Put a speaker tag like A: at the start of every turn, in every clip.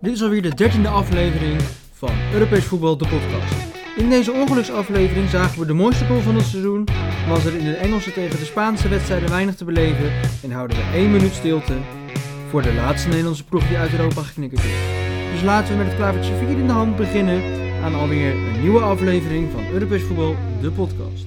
A: Dit is alweer de dertiende aflevering van Europees Voetbal, de podcast. In deze ongeluksaflevering zagen we de mooiste goal van het seizoen, was er in de Engelse tegen de Spaanse wedstrijden weinig te beleven en houden we één minuut stilte voor de laatste Nederlandse ploeg die uit Europa geknikkerd is. Dus laten we met het klavertje 4 in de hand beginnen aan alweer een nieuwe aflevering van Europees Voetbal, de podcast.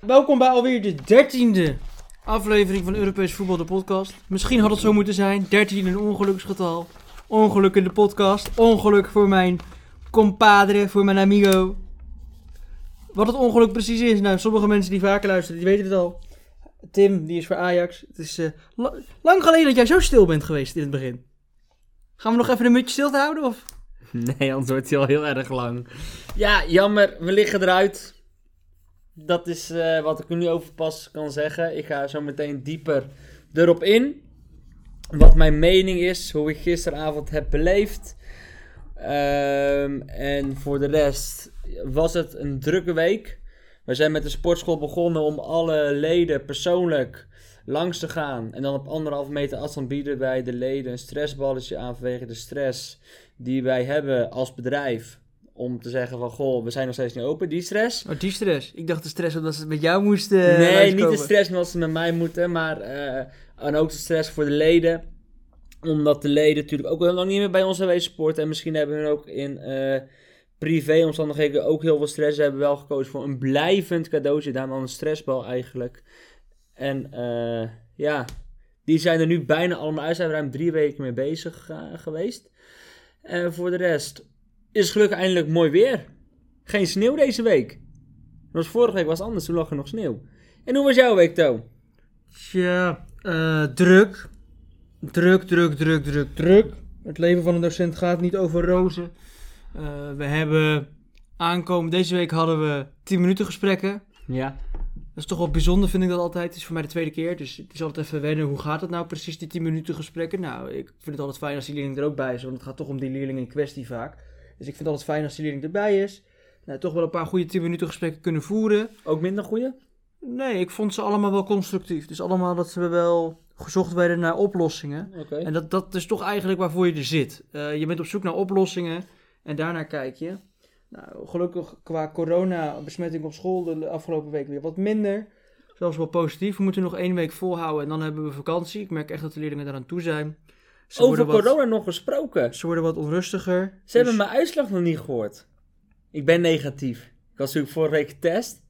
A: Welkom bij alweer de dertiende aflevering van Europees Voetbal, de podcast. Misschien had het zo moeten zijn, 13 een ongeluksgetal. Ongeluk in de podcast, ongeluk voor mijn compadre, voor mijn amigo. Wat het ongeluk precies is, nou, sommige mensen die vaker luisteren, die weten het al. Tim, die is voor Ajax. Het is eh, la- lang geleden dat jij zo stil bent geweest in het begin. Gaan we nog even een minuutje stilte houden, of?
B: Nee, anders wordt hij al heel erg lang. Ja, jammer. We liggen eruit. Dat is eh, wat ik er nu over pas kan zeggen. Ik ga zo meteen dieper erop in. Wat mijn mening is, hoe ik gisteravond heb beleefd. Ehm, en voor de rest was het een drukke week. We zijn met de sportschool begonnen om alle leden persoonlijk langs te gaan. En dan op anderhalve meter afstand bieden wij de leden een stressballetje aan vanwege de stress die wij hebben als bedrijf. Om te zeggen van, goh, we zijn nog steeds niet open, die stress.
A: Oh, die stress. Ik dacht de stress omdat ze het met jou moesten. eh,
B: nee, niet de stress omdat ze met mij moeten, maar eh, en ook de stress voor de leden. Omdat de leden natuurlijk ook heel lang niet meer bij ons zijn geweest sporten. En misschien hebben hun ook in eh privéomstandigheden ook heel veel stress. Ze hebben wel gekozen voor een blijvend cadeautje, daar dan een stressbal eigenlijk. En eh, ja, die zijn er nu bijna allemaal uit. Zijn we ruim drie weken mee bezig eh, geweest. En voor de rest is gelukkig eindelijk mooi weer. Geen sneeuw deze week. Dat was vorige week was het anders, toen lag er nog sneeuw. En hoe was jouw week, To?
A: Ja, eh, druk. Druk, druk, druk, druk, druk. Het leven van een docent gaat niet over rozen. Eh, we hebben aankomen. Deze week hadden we 10 minuten gesprekken.
B: Ja.
A: Dat is toch wel bijzonder, vind ik dat altijd. Het is voor mij de tweede keer, dus het is altijd even wennen. Hoe gaat het nou precies, die 10 minuten gesprekken? Nou, ik vind het altijd fijn als die leerling er ook bij is, want het gaat toch om die leerling in kwestie vaak. Dus ik vind het altijd fijn als die leerling erbij is. Nou, toch wel een paar goede 10 minuten gesprekken kunnen voeren.
B: Ook minder goede?
A: Nee, ik vond ze allemaal wel constructief. Dus allemaal dat ze wel gezocht werden naar oplossingen.
B: Oké.
A: En dat, dat is toch eigenlijk waarvoor je er zit. Eh, je bent op zoek naar oplossingen en daarnaar kijk je. Nou, gelukkig qua corona-besmetting op school de afgelopen week weer wat minder. Zelfs wel positief. We moeten nog één week volhouden en dan hebben we vakantie. Ik merk echt dat de leerlingen daaraan toe zijn. Ze
B: Over
A: worden
B: corona nog gesproken.
A: Wat, ze worden wat onrustiger.
B: Ze
A: Dus-
B: hebben mijn uitslag nog niet gehoord. Ik ben negatief. Ik was natuurlijk vorige week getest.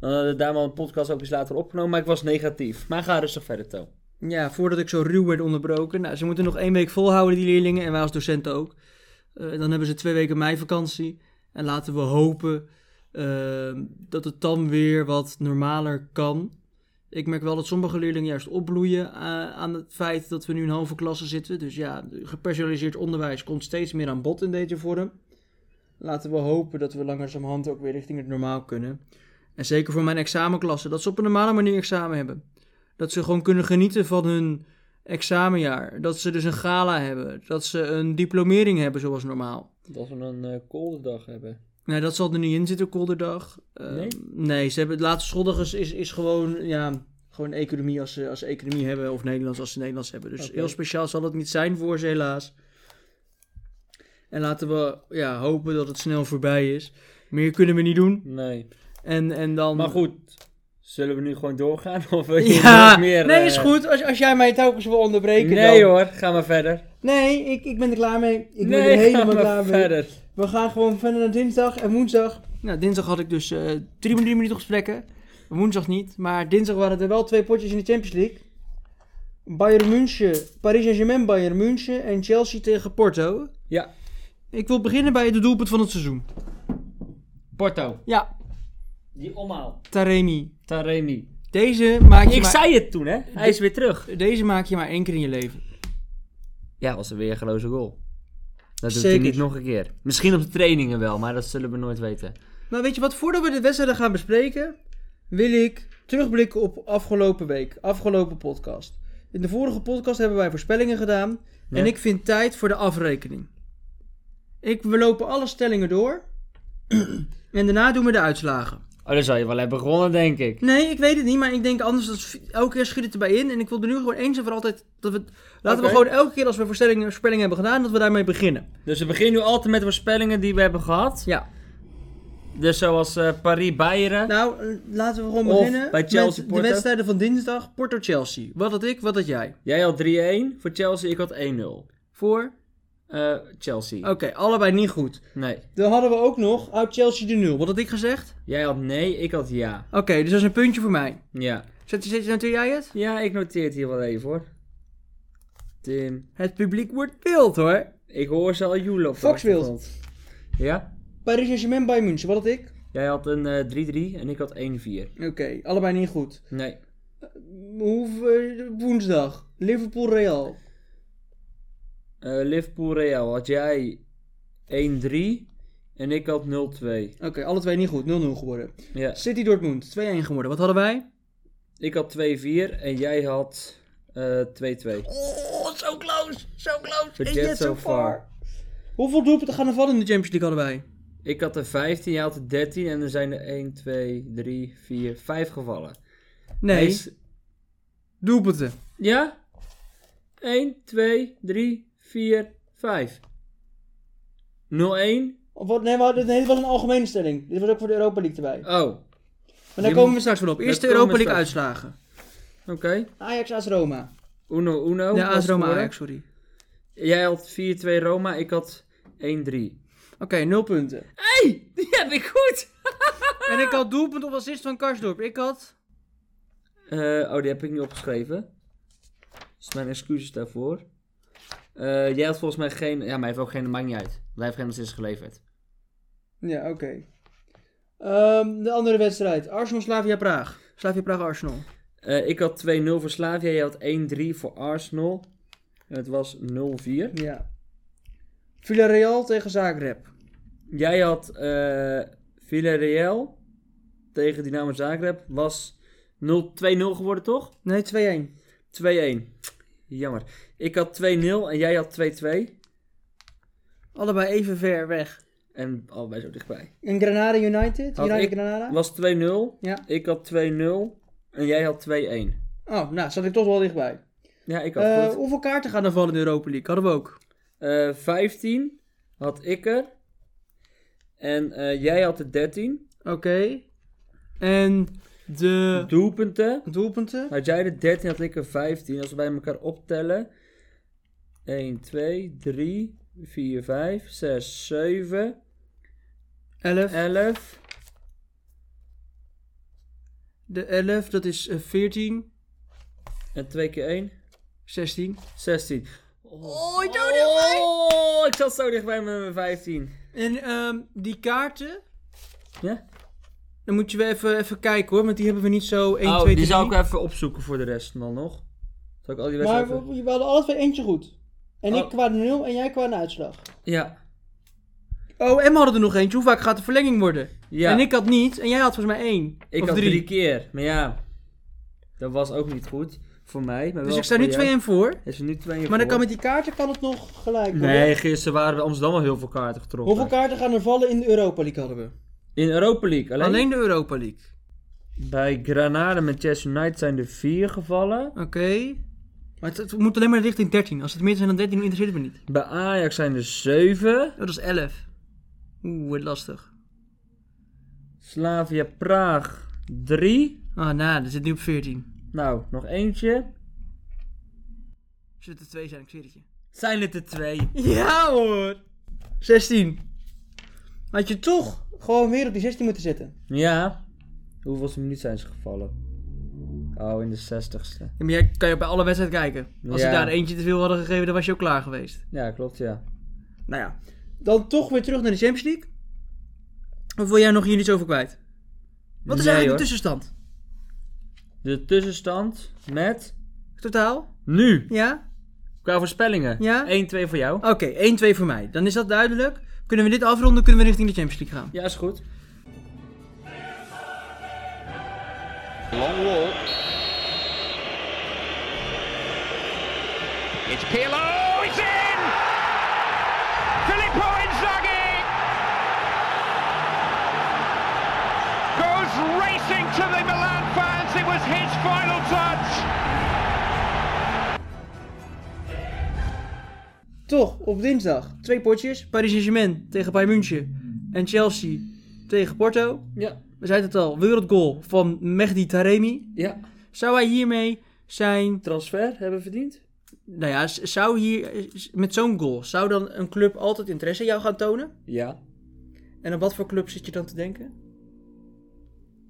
B: Dan hadden we daar maar een podcast ook eens later opgenomen, maar ik was negatief. Maar ga rustig verder, To.
A: Ja, voordat ik zo ruw werd onderbroken. Nou, ze moeten nog één week volhouden, die leerlingen. En wij als docenten ook. Eh, dan hebben ze twee weken meivakantie. En laten we hopen eh, dat het dan weer wat normaler kan. Ik merk wel dat sommige leerlingen juist opbloeien eh, aan het feit dat we nu in halve klassen zitten. Dus ja, gepersonaliseerd onderwijs komt steeds meer aan bod in deze vorm. Laten we hopen dat we langzamerhand ook weer richting het normaal kunnen. En zeker voor mijn examenklassen, dat ze op een normale manier examen hebben. Dat ze gewoon kunnen genieten van hun examenjaar. Dat ze dus een gala hebben. Dat ze een diplomering hebben zoals normaal.
B: Dat we een uh, koude dag hebben.
A: Nee, dat zal er niet in zitten, kolderdag. Eh,
B: Nee?
A: Nee, ze hebben, het laatste schooldag is, is, is gewoon, ja, gewoon economie als ze, als ze economie hebben. Of Nederlands als ze Nederlands hebben. Dus
B: Oké.
A: heel speciaal zal het niet zijn voor ze helaas. En laten we ja, hopen dat het snel voorbij is. Meer kunnen we niet doen.
B: Nee.
A: En, en dan...
B: Maar goed, zullen we nu gewoon doorgaan? Of wil je
A: Ja,
B: nog meer...
A: nee,
B: eh,
A: is goed. Als, als jij mij telkens wil onderbreken, dan-
B: Nee hoor, ga maar verder.
A: Nee, ik, ik ben er klaar mee. Ik ben
B: nee,
A: er helemaal
B: ga maar
A: klaar mee.
B: verder.
A: We gaan gewoon verder naar dinsdag en woensdag. Nou, dinsdag had ik dus eh drie, drie minuten gesprekken. Woensdag niet, maar dinsdag waren er wel twee potjes in de Champions League. Bayern München, Paris Saint-Germain, Bayern München en Chelsea tegen Porto.
B: Ja.
A: Ik wil beginnen bij het doelpunt van het seizoen.
B: Porto.
A: Ja,
B: Die omhaal.
A: Taremi.
B: Taremi.
A: Deze maak je,
B: Ik
A: maar,
B: zei het toen, hè? Hij is weer terug.
A: deze maak je maar één keer in je leven.
B: Ja, was een weergeloze goal. Dat doet hij
A: Zeker.
B: niet nog een keer. Misschien op de trainingen wel, maar dat zullen we nooit weten.
A: Maar weet je wat, voordat we de wedstrijden gaan bespreken, wil ik terugblikken op afgelopen week, afgelopen podcast. In de vorige podcast hebben wij voorspellingen gedaan
B: Ja.
A: en ik vind tijd voor de afrekening. Ik, we lopen alle stellingen door en daarna doen we de uitslagen.
B: Oh, dan zou je wel hebben gewonnen, denk ik.
A: Nee, ik weet het niet, maar ik denk anders dat v- elke keer schiet het erbij in. En ik wil er nu gewoon eens en voor altijd dat we. Laten we
B: Oké.
A: gewoon elke keer als we voorstellingen voorspellingen hebben gedaan, dat we daarmee beginnen.
B: Dus we beginnen nu altijd met de voorspellingen die we hebben gehad.
A: Ja.
B: Dus zoals eh Paris-Beieren.
A: Nou, eh, laten we gewoon
B: Of
A: beginnen
B: bij Chelsea,
A: met
B: Porto.
A: de wedstrijden van dinsdag. Porto Chelsea. Wat had ik, wat had jij?
B: Jij had 3-1 voor Chelsea, ik had 1-0.
A: Voor?
B: Eh, Chelsea.
A: Oké, allebei niet goed.
B: Nee.
A: Dan hadden we ook nog uit Chelsea de 0. Wat had ik gezegd?
B: Jij had nee, ik had ja.
A: Oké, dus dat is een puntje voor mij.
B: Ja.
A: Zet, zet, zet jij het?
B: Ja, ik noteer het hier wel even hoor. Tim.
A: Het publiek wordt wild hoor.
B: Ik hoor ze al joelen op de
A: Fox wild.
B: achtergrond. Ja?
A: Paris Saint-Germain bij München, wat had ik?
B: Jij had een eh, 3-3 en ik had 1-4.
A: Oké, allebei niet goed.
B: Nee.
A: Hoe, eh, woensdag, Liverpool-Real.
B: Eh, Liverpool-Real had jij 1-3 en ik had 0-2.
A: Oké, alle twee niet goed, 0-0 geworden.
B: Ja.
A: City-Dortmund, 2-1 geworden. Wat hadden wij?
B: Ik had 2-4 en jij had eh, 2-2.
A: Oh, zo close, zo close.
B: The jet so far.
A: Hoeveel doelpunten gaan er vallen in de Champions League hadden wij?
B: Ik had er 15, jij had er 13 en er zijn er 1, 2, 3, 4, 5 gevallen.
A: Nee,
B: Is-
A: doelpunten.
B: Ja? 1, 2, 3, 4, 5. 0, 1.
A: Of wat, nee, we hadden- nee, dit was een algemene stelling. Dit was ook voor de Europa League erbij.
B: Oh, oké.
A: Maar daar
B: Je
A: komen
B: moet-
A: we straks wel op. Eerst de
B: komen we
A: Europa League
B: straks.
A: uitslagen. Ajax, AS Roma.
B: Uno, uno.
A: ja, AS
B: was
A: Roma,
B: geworden.
A: Ajax, sorry.
B: Jij had 4, 2 Roma, ik had 1, 3.
A: Oké, 0 punten.
B: hey, die heb ik goed!
A: En ik had doelpunt op assist van Karsdorp. Ik had...
B: Eh, oh, die heb ik niet opgeschreven. Dus mijn excuses daarvoor. Eh, jij had volgens mij geen... Ja, maar hij heeft ook geen... Maakt niet uit. Wij hebben geen assist geleverd.
A: Ja, oké. Ehm, de andere wedstrijd. Arsenal-Slavia-Praag. Slavia-Praag-Arsenal.
B: Eh, ik had 2-0 voor Slavia, jij had 1-3 voor Arsenal. En het was 0-4.
A: Ja. Villarreal tegen Zagreb.
B: Jij had eh Villarreal tegen Dynamo Zagreb. Was 0-2-0 geworden, toch?
A: Nee, 2-1.
B: 2-1. Jammer. Ik had 2-0 en jij had 2-2.
A: Allebei even ver weg.
B: En oh, allebei zo dichtbij.
A: En Granada United?
B: Had
A: United
B: ik-
A: Granada?
B: Was 2-0.
A: Ja.
B: Ik had 2-0 en jij had 2-1.
A: Oh, nou, zat ik toch wel dichtbij.
B: Ja, ik had
A: Eh,
B: goed.
A: hoeveel kaarten gaan er vallen in de Europa League? Hadden we ook.
B: Eh, 15 had ik er. En eh, jij had er 13.
A: Oké. En de
B: Doelpunten.
A: doelpunten?
B: Had jij de 13, had ik er 15. Als we bij elkaar optellen. 1, 2, 3, 4, 5, 6, 7,
A: 11.
B: 11.
A: De 11, dat is eh, 14.
B: En 2 keer 1,
A: 16.
B: 16.
A: Oh,
B: Oh, ik zat zo dichtbij met mijn 15.
A: En ehm, die kaarten,
B: Ja?
A: dan moet je weer even, even kijken hoor, want die hebben we niet zo 1,
B: oh,
A: 2, 3.
B: die zou ik even opzoeken voor de rest dan nog. Zal ik al die
A: Maar
B: wedstrijden...
A: we, we hadden alle twee eentje goed. En
B: Oh.
A: ik qua de nul en jij qua een uitslag.
B: Ja.
A: Oh, en we hadden er nog eentje. Hoe vaak gaat de verlenging worden?
B: ja.
A: En ik had niet. En jij had volgens mij één.
B: Ik
A: of
B: had
A: drie.
B: drie. keer. Maar ja, dat was ook niet goed voor mij. Maar
A: Dus
B: wel
A: ik sta
B: voor
A: nu 2-1
B: jou.
A: voor.
B: Er zijn nu twee
A: Maar dan kan met die kaarten kan het nog gelijk worden.
B: Nee, gisteren waren we in Amsterdam al heel veel kaarten getrokken.
A: Hoeveel kaarten gaan er vallen in de Europa League hadden we?
B: In Europa League alleen.
A: Alleen, de Europa League.
B: Bij Granada en Manchester United zijn er vier gevallen.
A: Oké. Maar het, het moet alleen maar richting 13. Als het meer zijn dan 13, interesseert het me niet.
B: Bij Ajax zijn er zeven.
A: Oh, dat is 11. Oeh, wordt lastig.
B: Slavia Praag drie.
A: Ah, nou, dat zit nu op 14.
B: Nou, nog eentje.
A: Er Zullen er twee zijn, ik zweer het je.
B: Zijn het er twee?
A: Ja hoor! 16. Had je toch gewoon weer op die 16 moeten zetten.
B: Ja. Hoeveelste minuut zijn ze gevallen? Oh, in de zestigste.
A: Ja, maar jij kan je bij alle wedstrijden kijken. Als ze
B: Ja.
A: daar eentje te veel hadden gegeven, dan was je ook klaar geweest.
B: Ja, klopt ja.
A: Nou ja, dan toch weer terug naar de Champions League. Of wil jij nog hier iets over kwijt? Wat is
B: Nee,
A: eigenlijk
B: hoor.
A: de tussenstand?
B: De tussenstand met...
A: Totaal?
B: Nu!
A: Ja?
B: Qua voorspellingen.
A: Ja?
B: 1-2 voor jou.
A: Oké, 1-2 voor mij. Dan is dat duidelijk. Kunnen we dit afronden, kunnen we richting de Champions League gaan.
B: Ja, is goed.
C: Long wall. It's Pirlo. It's in. Filippo Inzaghi goes to the Milan fans. It was his final touch.
A: Toch, op dinsdag. Twee potjes. Paris Saint-Germain tegen Bayern München. En Chelsea tegen Porto.
B: Ja,
A: We zeiden het al, wereldgoal van Mehdi Taremi.
B: ja.
A: Zou hij hiermee zijn...
B: Transfer hebben we verdiend?
A: Nou ja, z- zou hier... z- Met zo'n goal, zou dan een club altijd interesse in jou gaan tonen?
B: Ja.
A: En aan wat voor club zit je dan te denken?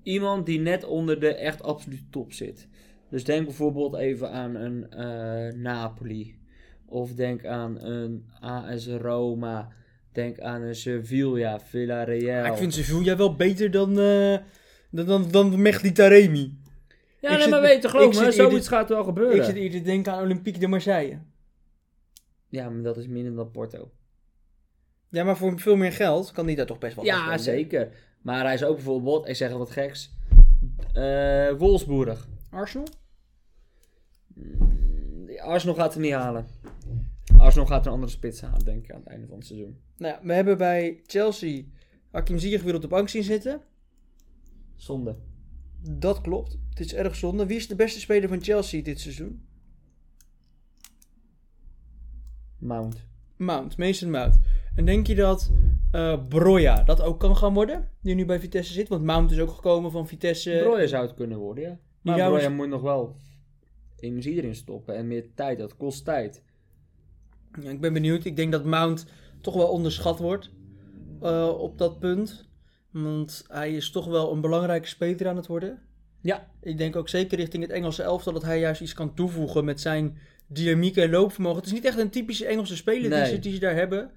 B: Iemand die net onder de echt absolute top zit. Dus denk bijvoorbeeld even aan een eh, Napoli. Of denk aan een AS Roma. Denk aan een Sevilla, Villarreal.
A: Ah, Ik vind Sevilla wel beter dan, eh, dan, dan, dan Mehdi Taremi. Ik
B: Ja, nee,
A: zit
B: maar
A: me-
B: weet
A: ik
B: je, geloof me,
A: zit
B: zoiets
A: eerder-
B: gaat wel gebeuren.
A: Ik zit hier te denken aan Olympique de Marseille.
B: Ja, maar dat is minder dan Porto.
A: Ja, maar voor veel meer geld kan die daar toch best wel
B: Ja,
A: afkomen.
B: zeker. Maar hij is ook bijvoorbeeld, ik zeg wat geks, eh Wolfsburg.
A: Arsenal?
B: Arsenal gaat het niet halen. Arsenal gaat een andere spits halen, denk ik, aan het einde van het seizoen.
A: Nou ja, we hebben bij Chelsea Hakim Ziyech weer op de bank zien zitten.
B: Zonde.
A: Dat klopt. Het is erg zonde. Wie is de beste speler van Chelsea dit seizoen?
B: Mount.
A: Mount, Mason Mount. En denk je dat eh Broja dat ook kan gaan worden? Die nu bij Vitesse zit. Want Mount is ook gekomen van Vitesse.
B: Breuer zou het kunnen worden, ja. Maar
A: jouw
B: Breuer
A: is-
B: moet nog wel energie erin stoppen en meer tijd. Dat kost tijd.
A: Ja, ik ben benieuwd. Ik denk dat Mount toch wel onderschat wordt eh, op dat punt. Want hij is toch wel een belangrijke speler aan het worden.
B: Ja,
A: Ik denk ook zeker richting het Engelse elftal dat hij juist iets kan toevoegen met zijn dynamiek en loopvermogen. Het is niet echt een typische Engelse speler die,
B: Nee.
A: ze, die ze daar hebben.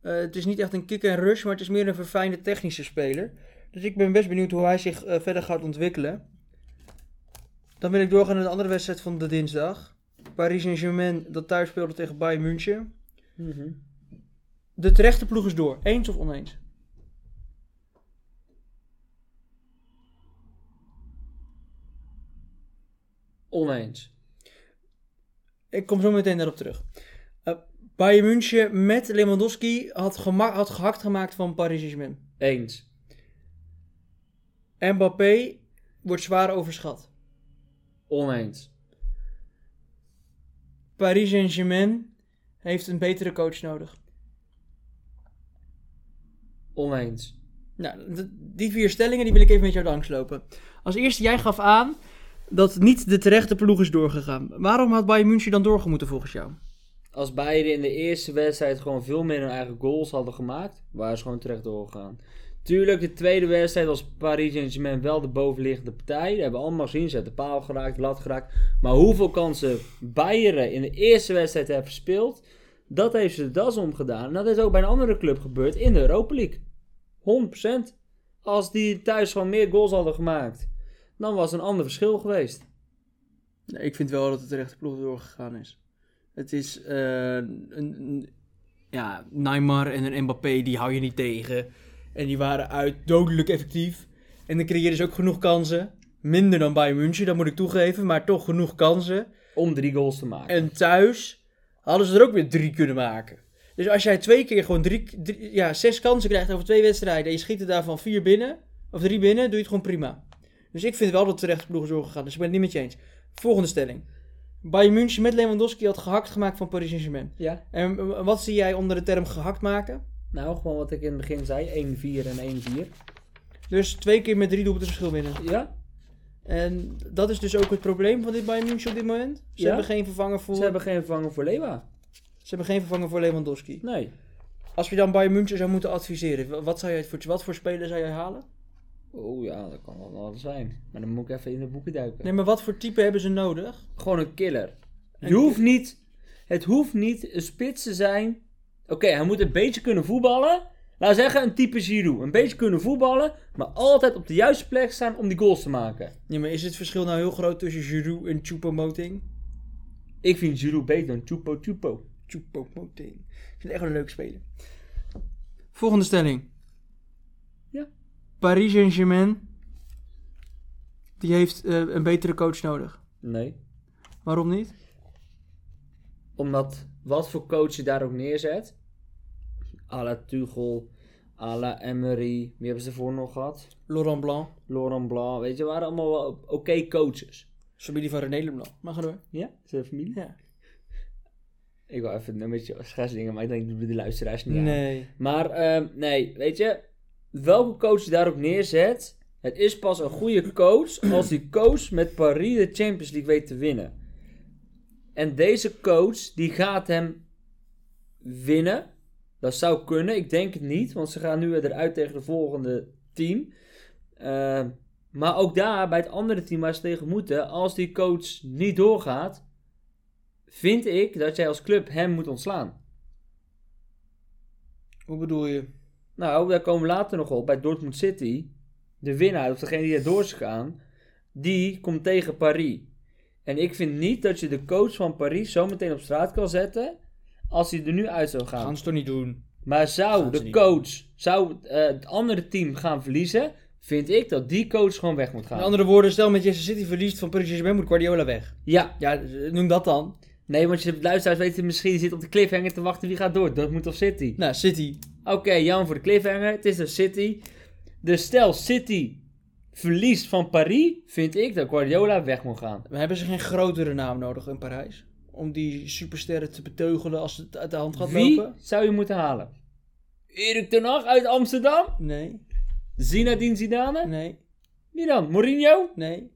A: Eh, het is niet echt een kick en rush, maar het is meer een verfijnde technische speler. Dus ik ben best benieuwd hoe hij zich eh, verder gaat ontwikkelen. Dan wil ik doorgaan naar de andere wedstrijd van de dinsdag. Paris Saint-Germain dat thuis speelde tegen Bayern München. De terechte ploeg is door. Eens of oneens?
B: oneens.
A: Ik kom zo meteen daarop terug. Eh, Bayern München met Lewandowski had, gema- had gehakt gemaakt van Paris Saint-Germain.
B: Eens.
A: Mbappé wordt zwaar overschat.
B: Oneens.
A: Paris Saint-Germain heeft een betere coach nodig.
B: Oneens.
A: Nou, d- die vier stellingen die wil ik even met jou langs lopen. Als eerste, jij gaf aan dat niet de terechte ploeg is doorgegaan. Waarom had Bayern München dan doorgemoeten volgens jou?
B: als beide in de eerste wedstrijd gewoon veel meer hun eigen goals hadden gemaakt, waren ze gewoon terecht doorgegaan. Tuurlijk, de tweede wedstrijd was Paris Saint-Germain wel de bovenliggende partij. Dat hebben we allemaal gezien. Ze hebben de paal geraakt, de lat geraakt. Maar hoeveel kansen Bayern in de eerste wedstrijd heeft verspeeld, dat heeft ze de das omgedaan. En dat is ook bij een andere club gebeurd in de Europa League. 100%. Als die thuis gewoon meer goals hadden gemaakt, dan was er een ander verschil geweest.
A: Nee, ik vind wel dat de terechte ploeg doorgegaan is. Het is eh, een, een- ja, Neymar en een Mbappé, die hou je niet tegen. En die waren uit dodelijk effectief. En dan creëerden ze ook genoeg kansen. Minder dan bij München, dat moet ik toegeven, maar toch genoeg kansen.
B: Om drie goals te maken.
A: En thuis hadden ze er ook weer drie kunnen maken. Dus als jij twee keer gewoon drie, drie- ja, zes kansen krijgt over twee wedstrijden en je schiet er daarvan vier binnen, of drie binnen, doe je het gewoon prima. Dus ik vind wel dat de terechte ploeg is doorgegaan, dus ik ben het niet met je eens. Volgende stelling. Bayern München met Lewandowski had gehakt gemaakt van Paris Saint-Germain.
B: Ja.
A: En eh, wat zie jij onder de term gehakt maken?
B: Nou, gewoon wat ik in het begin zei: 1-4 en 1-4.
A: Dus twee keer met drie doelpunten verschil winnen.
B: Ja,
A: En dat is dus ook het probleem van dit Bayern München op dit moment. Ze
B: Ja.
A: hebben geen vervanger voor...
B: ze hebben geen vervanger voor Lewa.
A: ze hebben geen vervanger voor Lewandowski.
B: Nee.
A: Als je dan Bayern München zou moeten adviseren, wa- wat, zou jij, voor, wat voor speler zou jij halen?
B: Oeh ja, dat kan wel wat zijn. Maar dan moet ik even in de boeken duiken.
A: Nee, maar wat voor type hebben ze nodig?
B: Gewoon een killer. Je
A: Een
B: hoeft niet, het hoeft niet een spits te zijn. Oké, hij moet een beetje kunnen voetballen. Laten we zeggen, een type Giroud. Een beetje kunnen voetballen, maar altijd op de juiste plek staan om die goals te maken.
A: Ja, maar is het verschil nou heel groot tussen Giroud en Choupo-Moting?
B: Ik vind Giroud beter dan Chupo Chupo.
A: Choupo-Moting. Ik vind het echt wel een leuk speler. Volgende stelling.
B: Ja.
A: Paris Saint-Germain, die heeft eh, een betere coach nodig.
B: Nee.
A: Waarom niet?
B: Omdat wat voor coach je daar ook neerzet. à la Tuchel, Ala Emery. Wie hebben ze voor nog gehad?
A: Laurent Blanc.
B: Laurent Blanc. Weet je, waren allemaal wel oké coaches.
A: Familie van René Leblanc. Maar ga door.
B: Ja, zijn familie.
A: Ja.
B: Ik wil even een beetje scheidsdingen, maar ik denk dat we de luisteraars niet aan.
A: Nee.
B: Maar ehm, nee, weet je, welke coach je daar ook neerzet, het is pas een goede coach als die coach met Paris de Champions League weet te winnen. En deze coach, die gaat hem winnen. Dat zou kunnen, ik denk het niet, want ze gaan nu weer eruit tegen de volgende team. Ehm, maar ook daar, bij het andere team waar ze tegen moeten, als die coach niet doorgaat, vind ik dat jij als club hem moet ontslaan.
A: Hoe bedoel je?
B: Nou, daar komen we later nog op. Bij Dortmund City, de winnaar, of degene die er door is gegaan, die komt tegen Paris. En ik vind niet dat je de coach van Paris zo meteen op straat kan zetten als hij er nu uit zou gaan.
A: Gaan ze toch niet doen?
B: maar zou
A: gaan ze
B: de
A: niet
B: coach, zou eh, het andere team gaan verliezen, vind ik dat die coach gewoon weg moet gaan.
A: Met andere woorden, stel Manchester City verliest van Paris Saint-Germain, moet Guardiola weg.
B: Ja,
A: Ja, noem dat dan.
B: nee, want je luisteraars weten misschien, die zit op de cliffhanger te wachten wie gaat door, Dortmund of City.
A: Nou, City.
B: Oké, Jan voor de cliffhanger. Het is dus City. Dus stel City verliest van Paris, vind ik dat Guardiola weg moet gaan.
A: We hebben ze geen grotere naam nodig in Parijs? Om die supersterren te beteugelen als het uit de hand gaat
B: Wie
A: lopen?
B: zou je moeten halen? Erik ten Hag uit Amsterdam?
A: Nee,
B: Zinedine Zidane?
A: nee,
B: Wie dan? Mourinho?
A: nee,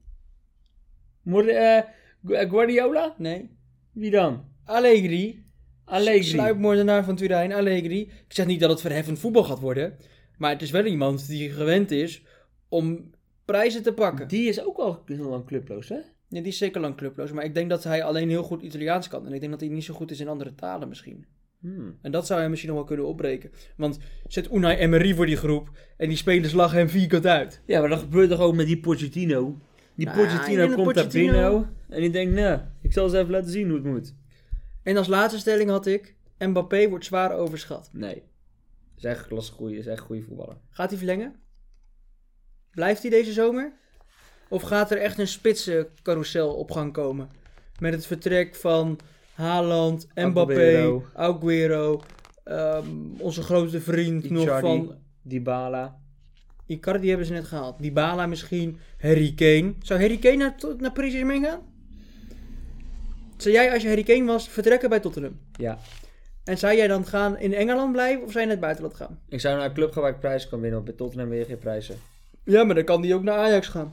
B: Mor- eh, Gu- eh, Guardiola?
A: nee.
B: Wie dan?
A: Allegri.
B: Allegri.
A: Sluipmoordenaar van Turijn, Allegri. Ik zeg niet dat het verheffend voetbal gaat worden. Maar het is wel iemand die gewend is om prijzen te pakken.
B: Die is ook al heel lang clubloos, hè?
A: Ja, die is zeker lang clubloos. Maar ik denk dat hij alleen heel goed Italiaans kan. En ik denk dat hij niet zo goed is in andere talen misschien.
B: Hmm.
A: En dat zou hij misschien nog wel kunnen opbreken. Want zet Unai Emery voor die groep. En die spelers lachen hem vierkant uit.
B: Ja, maar dat gebeurt toch ook met die Pochettino? Die
A: Nou, ik
B: Pochettino
A: denk dat
B: komt daar
A: Pochettino-
B: binnen en die denkt, nou, ik zal eens even laten zien hoe het moet.
A: En als laatste stelling had ik... Mbappé wordt zwaar overschat.
B: Nee. Is echt klasse goeie, is echt goede voetballer.
A: Gaat hij verlengen? Blijft hij deze zomer? Of gaat er echt een spitsencarousel op gang komen? Met het vertrek van Haaland, Mbappé, Aguero,
B: Aguero.
A: ehm, onze grote vriend nog
B: Icardi.
A: van...
B: Dybala.
A: Icardi hebben ze net gehaald. Dybala misschien, Harry Kane. Zou Harry Kane naar, tot- naar Paris Saint-Germain gaan? Zou jij als je Harry Kane was vertrekken bij Tottenham?
B: Ja.
A: En zou jij dan gaan in Engeland blijven of zou je naar het buitenland gaan?
B: Ik zou naar een club gaan waar ik prijzen kan winnen, want bij Tottenham weer geen prijzen.
A: Ja, maar dan kan die ook naar Ajax gaan.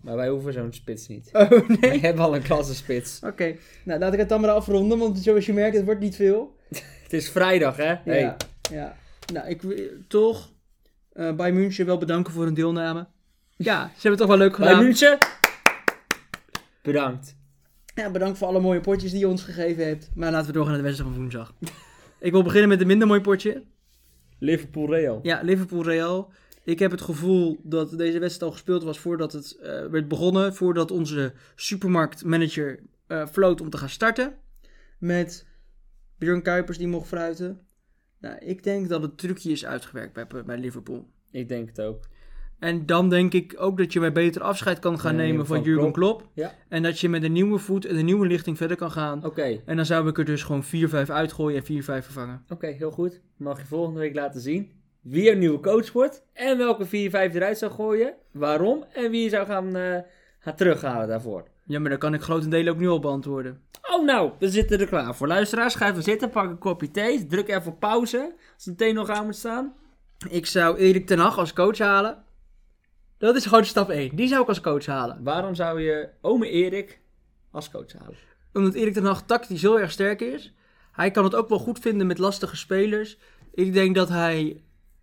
B: Maar wij hoeven zo'n spits niet.
A: Oh nee.
B: Wij hebben al een klasse spits.
A: Oké, nou laat ik het dan maar afronden, want zoals je merkt, het wordt niet veel.
B: Het is vrijdag, hè?
A: Ja, ja. Nou, ik wil toch eh bij München wel bedanken voor hun deelname. Ja, ze hebben het toch wel leuk
B: Bij
A: gedaan.
B: München. Bedankt.
A: Ja, bedankt voor alle mooie potjes die je ons gegeven hebt. Maar laten we doorgaan naar de wedstrijd van woensdag. ik wil beginnen met een minder mooi potje.
B: Liverpool Real.
A: Ja, Liverpool-Real. Ik heb het gevoel dat deze wedstrijd al gespeeld was voordat het eh, werd begonnen. Voordat onze supermarktmanager eh floot om te gaan starten. Met Björn Kuipers die mocht fruiten. Nou, ik denk dat het trucje is uitgewerkt bij, bij Liverpool.
B: Ik denk het ook.
A: En dan denk ik ook dat je weer beter afscheid kan gaan
B: Ja,
A: nemen van,
B: van
A: Jurgen Klopp.
B: Ja.
A: En dat je met een nieuwe voet en een nieuwe lichting verder kan gaan.
B: Oké. Oké,
A: En dan zou ik er dus gewoon 4-5 uitgooien en 4-5 vervangen.
B: heel goed. Mag je volgende week laten zien wie een nieuwe coach wordt en welke 4-5 eruit zou gooien, waarom en wie je zou gaan, eh, gaan terughalen daarvoor.
A: Ja, maar daar kan ik grotendelen ook nu al beantwoorden.
B: Oh nou, we zitten er klaar voor. Luisteraars, ga even zitten, pak een kopje thee, druk even op pauze. Als de thee nog aan moet staan.
A: Ik zou Erik ten Hag als coach halen. Dat is gewoon stap 1. Die zou ik als coach halen.
B: Waarom zou je ome Erik als coach halen?
A: Omdat Erik ten Hag tactisch heel erg sterk is. Hij kan het ook wel goed vinden met lastige spelers. Ik denk dat hij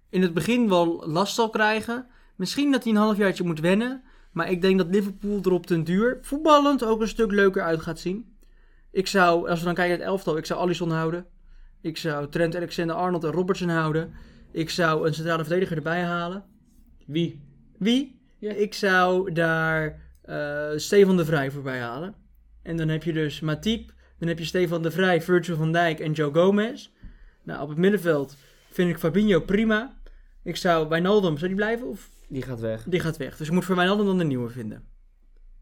A: in het begin wel last zal krijgen. Misschien dat hij een halfjaartje moet wennen. Maar ik denk dat Liverpool er op den duur voetballend ook een stuk leuker uit gaat zien. Ik zou, als we dan kijken naar het elftal, ik zou Alisson houden. Ik zou Trent Alexander-Arnold en Robertson houden. Ik zou een centrale verdediger erbij halen.
B: Wie?
A: Wie?
B: Ja.
A: Ik zou daar eh, Stefan de Vrij voorbij halen. En dan heb je dus Matip. Dan heb je Stefan de Vrij, Virgil van Dijk en Joe Gomez. Nou, op het middenveld vind ik Fabinho prima. Ik zou Wijnaldum, zou die blijven of
B: Die gaat weg.
A: die gaat weg? Dus je moet voor Wijnaldum dan een nieuwe vinden.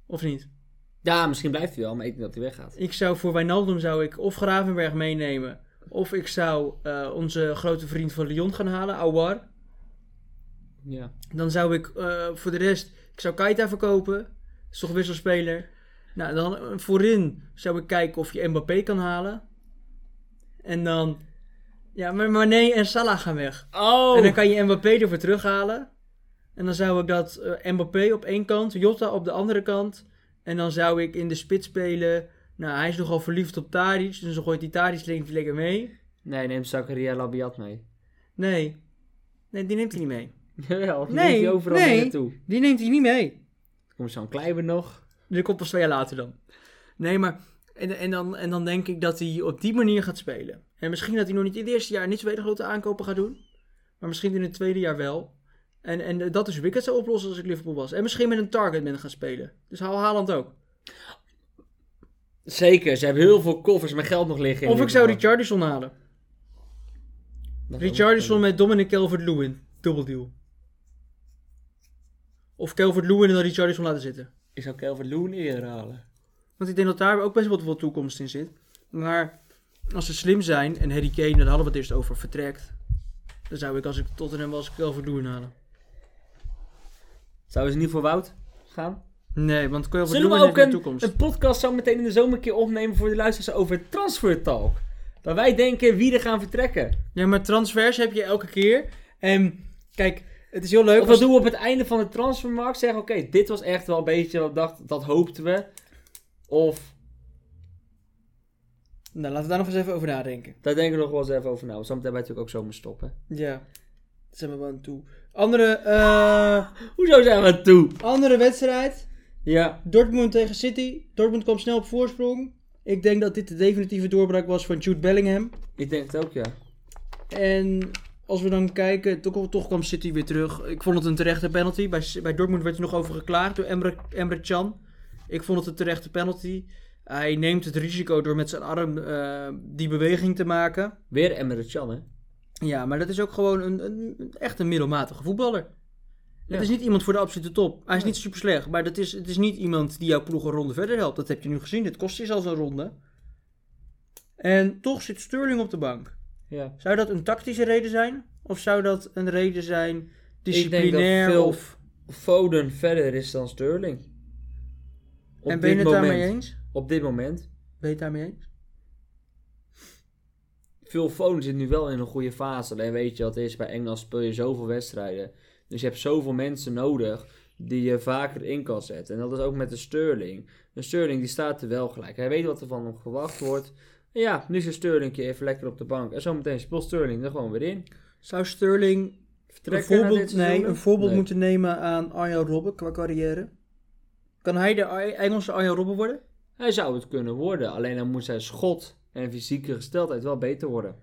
A: Of niet?
B: Ja, misschien blijft hij wel, maar ik denk dat hij weggaat.
A: Ik zou voor Wijnaldum zou ik of Gravenberg meenemen. Of ik zou eh, onze grote vriend van Lyon gaan halen, Awar.
B: Ja.
A: Dan zou ik eh, voor de rest, ik zou Keita verkopen. is toch wisselspeler. Nou, dan eh, voorin zou ik kijken of je Mbappé kan halen. En dan, ja, maar Mané en Salah gaan weg.
B: Oh!
A: En dan kan je Mbappé ervoor terughalen. En dan zou ik dat eh, Mbappé op één kant, Jota op de andere kant. En dan zou ik in de spits spelen. Nou, hij is nogal verliefd op Tadic, dus dan gooit die Tadic links lekker mee.
B: Nee, neem Zakaria Labiat mee.
A: Nee, nee, die neemt hij niet mee.
B: Jawel, die
A: Nee,
B: neemt hij overal
A: nee.
B: mee naartoe.
A: Die neemt hij niet mee.
B: Er komt zo'n Kleiber nog.
A: Dus ik komt pas twee jaar later dan. Nee, maar. En, en, dan, en dan denk ik dat hij op die manier gaat spelen. En misschien dat hij nog niet in het eerste jaar niet zo'n hele grote aankopen gaat doen. Maar misschien in het tweede jaar wel. En, en dat is hoe ik het zou oplossen als ik Liverpool was. En misschien met een target ben gaan spelen. Dus haal Haaland ook.
B: Zeker, ze hebben heel veel koffers met geld nog liggen. in
A: Of ik zou
B: Liverpool.
A: Richardson halen.
B: Dat zou
A: Richardson met Dominic Calvert-Lewin. Dubbeldeal. Of Calvert-Lewin en dan Richardson laten zitten.
B: Ik zou Calvert Loon eerder halen.
A: Want ik denk dat daar ook best wel wat toekomst in zit. Maar als ze slim zijn en Harry Kane, daar hadden we het eerst over, vertrekt. Dan zou ik als ik Tottenham was, Calvert-Lewin halen.
B: Zouden ze niet voor Wout gaan?
A: Nee, want
B: Zullen we
A: Calvert-Lewin
B: ook
A: heeft een
B: een,
A: toekomst.
B: een podcast zo meteen in de zomer een keer opnemen voor de luisteraars over Transfer Talk? Waar wij denken wie er gaan vertrekken.
A: Ja, maar transfers heb je elke keer. En kijk, het is heel leuk. als-
B: Of wat doen we op het einde van de transfermarkt? Zeggen, oké, dit was echt wel een beetje wat we dacht, dat hoopten we. Of
A: Nou, laten we daar nog eens even over nadenken.
B: daar denken we nog wel eens even over na. Want zometeen hebben wij natuurlijk ook zomer stoppen.
A: Ja, daar zijn we wel aan toe. Andere, eh,
B: Hoezo zijn we aan toe?
A: andere wedstrijd.
B: Ja.
A: Dortmund tegen City. Dortmund kwam snel op voorsprong. Ik denk dat dit de definitieve doorbraak was van Jude Bellingham.
B: Ik denk het ook, ja.
A: En als we dan kijken, toch, toch kwam City weer terug. Ik vond het een terechte penalty. Bij, bij Dortmund werd er nog over geklaagd door Emre, Emre Can. Ik vond het een terechte penalty. Hij neemt het risico door met zijn arm eh, die beweging te maken.
B: Weer Emre Can, hè?
A: Ja, maar dat is ook gewoon een, een, een- echt een middelmatige voetballer.
B: Ja.
A: Het is niet iemand voor de absolute top. Hij is niet super slecht, maar dat is, het is niet iemand die jouw ploeg een ronde verder helpt. Dat heb je nu gezien. Dit kost je zelfs een ronde. En toch zit Sterling op de bank.
B: Ja.
A: Zou dat een tactische reden zijn? Of zou dat een reden zijn disciplinair
B: veel-
A: of...
B: Foden verder is dan Sterling. Op
A: en ben je
B: dit
A: het daarmee
B: moment.
A: eens?
B: Op dit moment.
A: Ben je het daarmee eens?
B: Phil Foden zit nu wel in een goede fase. Alleen weet je wat het is, bij Engeland speel je zoveel wedstrijden. Dus je hebt zoveel mensen nodig die je vaker in kan zetten. En dat is ook met de Sterling. De Sterling die staat er wel gelijk. Hij weet wat er van hem verwacht wordt. En ja, nu zit Sterling even lekker op de bank. En zometeen speelt Sterling er gewoon weer in.
A: Zou Sterling een
B: Vertrekken na dit
A: voorbeeld,
B: seizoen?
A: nee, een voorbeeld
B: Nee.
A: moeten nemen aan Arjen Robben qua carrière? Kan hij de Ar- Engelse Arjen Robben worden?
B: Hij zou het kunnen worden. Alleen dan moet zijn schot en fysieke gesteldheid wel beter worden.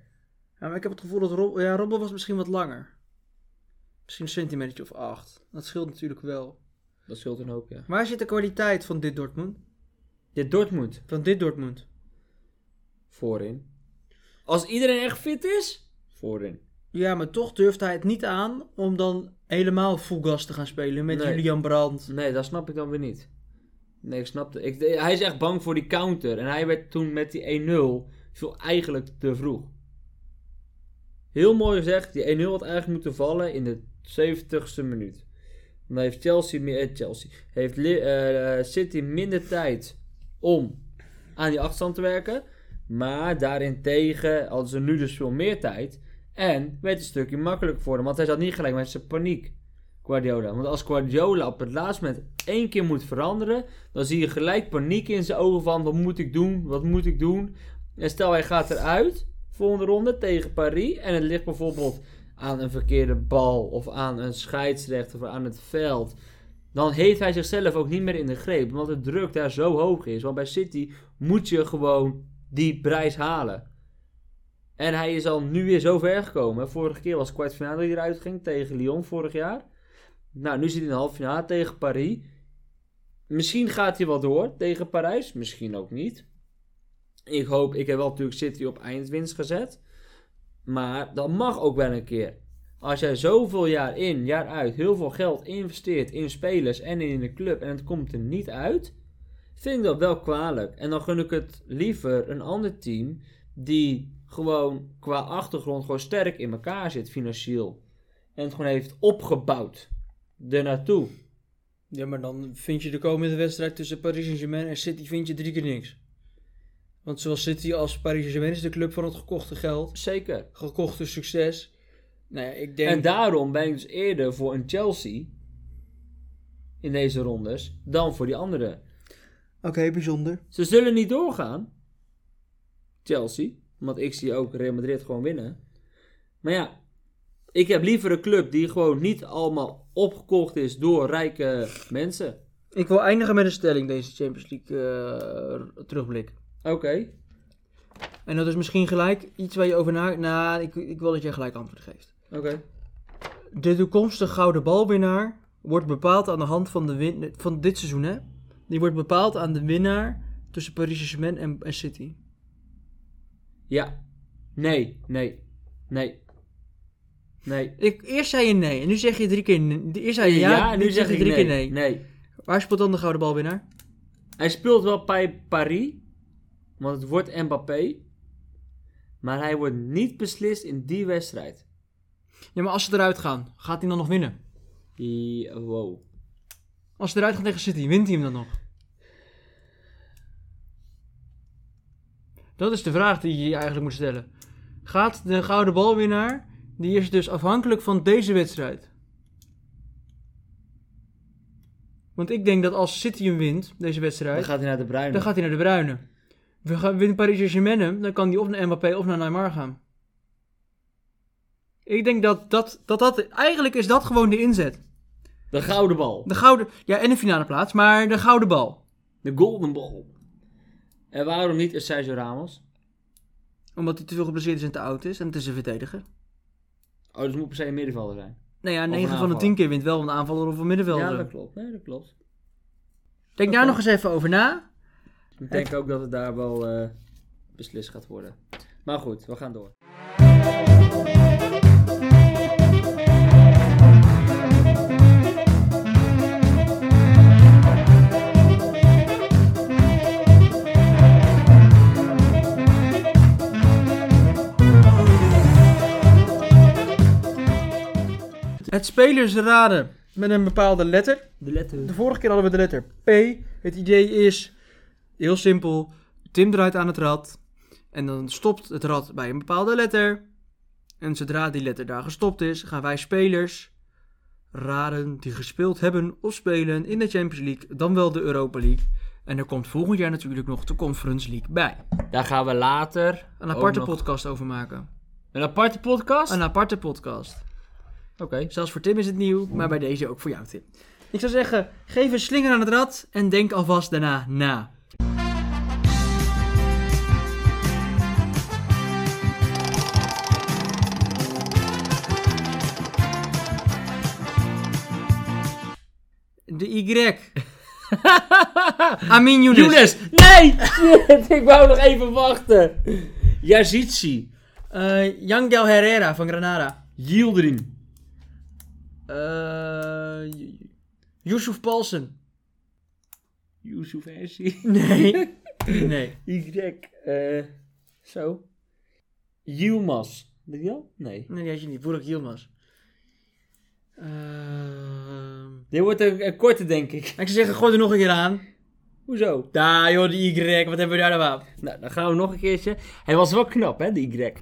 A: Ja, maar ik heb het gevoel dat Rob, ja, Robben was misschien wat langer. Misschien een centimeter of acht. Dat scheelt natuurlijk wel.
B: Dat scheelt een hoop, ja.
A: Waar zit de kwaliteit van dit Dortmund?
B: Dit Dortmund.
A: Van dit Dortmund?
B: Voorin. Als iedereen echt fit is? Voorin.
A: Ja, maar toch durft hij het niet aan om dan helemaal full gas te gaan spelen met
B: Nee.
A: Julian Brandt.
B: Nee, dat snap ik dan weer niet. Nee, ik snap het. Ik, de- hij is echt bang voor die counter. En hij werd toen met die 1-0 viel eigenlijk te vroeg. Heel mooi gezegd. Die 1-0 had eigenlijk moeten vallen in de 70ste minuut. Dan heeft Chelsea, meer- eh, Chelsea heeft Li- eh, eh, City minder tijd om aan die achterstand te werken. Maar daarentegen hadden ze nu dus veel meer tijd. En werd het een stukje makkelijker voor hem. Want hij zat niet gelijk met zijn paniek. Guardiola. Want als Guardiola op het laatste moment één keer moet veranderen. Dan zie je gelijk paniek in zijn ogen van wat moet ik doen? Wat moet ik doen? En stel hij gaat eruit. Volgende ronde tegen Paris. En het ligt bijvoorbeeld aan een verkeerde bal. Of aan een scheidsrechter. Of aan het veld. Dan heeft hij zichzelf ook niet meer in de greep. Omdat de druk daar zo hoog is. Want bij City moet je gewoon die prijs halen. En hij is al nu weer zo ver gekomen. Vorige keer was kwartfinale die eruit ging tegen Lyon vorig jaar. Nou, nu zit hij in de halve finale tegen Paris. Misschien gaat hij wel door tegen Parijs, misschien ook niet. Ik hoop, ik heb wel natuurlijk City op eindwinst gezet. Maar dat mag ook wel een keer. Als jij zoveel jaar in, jaar uit, heel veel geld investeert in spelers en in de club en het komt er niet uit, vind ik dat wel kwalijk. En dan gun ik het liever een ander team die gewoon qua achtergrond gewoon sterk in elkaar zit financieel. En het gewoon heeft opgebouwd. Daarnaartoe.
A: Ja, maar dan vind je de komende wedstrijd tussen Paris Saint-Germain en City vind je drie keer niks. Want zowel City als Paris Saint-Germain is de club van het gekochte geld,
B: Zeker.
A: gekochte succes. Nou ja, ik denk...
B: En daarom ben ik dus eerder voor een Chelsea in deze rondes dan voor die andere.
A: Oké, bijzonder.
B: Ze zullen niet doorgaan. Chelsea. Want ik zie ook Real Madrid gewoon winnen. Maar ja, ik heb liever een club die gewoon niet allemaal opgekocht is door rijke mensen.
A: Ik wil eindigen met een stelling deze Champions League eh, terugblik.
B: Oké.
A: En dat is misschien gelijk iets waar je over na... Nou, ik, ik wil dat jij gelijk antwoord geeft.
B: Oké.
A: De toekomstige gouden balwinnaar wordt bepaald aan de hand van, de win van dit seizoen, hè? Die wordt bepaald aan de winnaar tussen Paris Saint-Germain en, en City.
B: Ja. Nee, nee, nee. Nee.
A: Ik, eerst zei je nee en nu zeg je drie keer nee. Eerst zei je ja, en nu, zeg je
B: ik
A: drie keer nee.
B: Nee.
A: Waar speelt dan de gouden balwinnaar?
B: Hij speelt wel bij Paris, want het wordt Mbappé. Maar hij wordt niet beslist in die wedstrijd.
A: Ja, maar als ze eruit gaan, gaat hij dan nog winnen?
B: Die, wow.
A: Als ze eruit gaan tegen City, wint hij hem dan nog? Dat is de vraag die je je eigenlijk moet stellen. Gaat de gouden balwinnaar, die is dus afhankelijk van deze wedstrijd. Want ik denk dat als City hem wint, deze wedstrijd,
B: Dan gaat hij naar de Bruine.
A: dan gaat hij naar de Bruine. We gaan, wint Paris Saint-Germain hem, dan kan hij of naar Mbappé of naar Neymar gaan. Ik denk dat dat, dat, dat eigenlijk is dat gewoon de inzet.
B: De gouden bal.
A: De gouden, ja en de finale plaats, maar de gouden bal.
B: De golden ball. En waarom niet een Sergio Ramos?
A: Omdat hij te veel geblesseerd is en te oud is en het is een verdediger.
B: Oh, dus het moet per se een middenvelder zijn.
A: Nou ja,
B: een
A: 9 van de
B: aanvaller.
A: 10 keer wint wel een aanvaller of een middenvelder.
B: Ja, dat klopt. Nee, dat klopt.
A: Denk daar nog eens even over na.
B: Ik denk ook dat het daar wel eh, beslist gaat worden. Maar goed, we gaan door.
A: Het spelers raden met een bepaalde letter.
B: De letter.
A: De vorige keer hadden we de letter P. Het idee is heel simpel. Tim draait aan het rad. En dan stopt het rad bij een bepaalde letter. En zodra die letter daar gestopt is, gaan wij spelers raden die gespeeld hebben of spelen in de Champions League, dan wel de Europa League. En er komt volgend jaar natuurlijk nog de Conference League bij.
B: Daar gaan we later
A: Een aparte
B: ook nog-
A: podcast over maken.
B: Een aparte podcast?
A: Een aparte podcast.
B: Oké.
A: Zelfs voor Tim is het nieuw, maar bij deze ook voor jou, Tim. Ik zou zeggen, geef een slinger aan het rad en denk alvast daarna na. De Y. Amin Younes.
B: Younes! Nee! Shit, ik wou nog even wachten. Yazitsi.
A: Eh, Yangel Herrera van Granada.
B: Yildirim.
A: Eh Yusuf Paulsen.
B: Yusuf Hersi.
A: Nee. nee.
B: Y. eh, zo. Yilmaz. Denk je dat? Nee.
A: Nee, die had je niet. Boerak Yilmaz. Ehm,
B: Dit wordt een, een korte, denk ik.
A: ik zou zeggen, gooi er nog een keer aan.
B: Hoezo?
A: Daar joh, die Y, wat hebben we daar nou aan?
B: Nou, dan gaan we nog een keertje. Hij was wel knap, hè, de Y.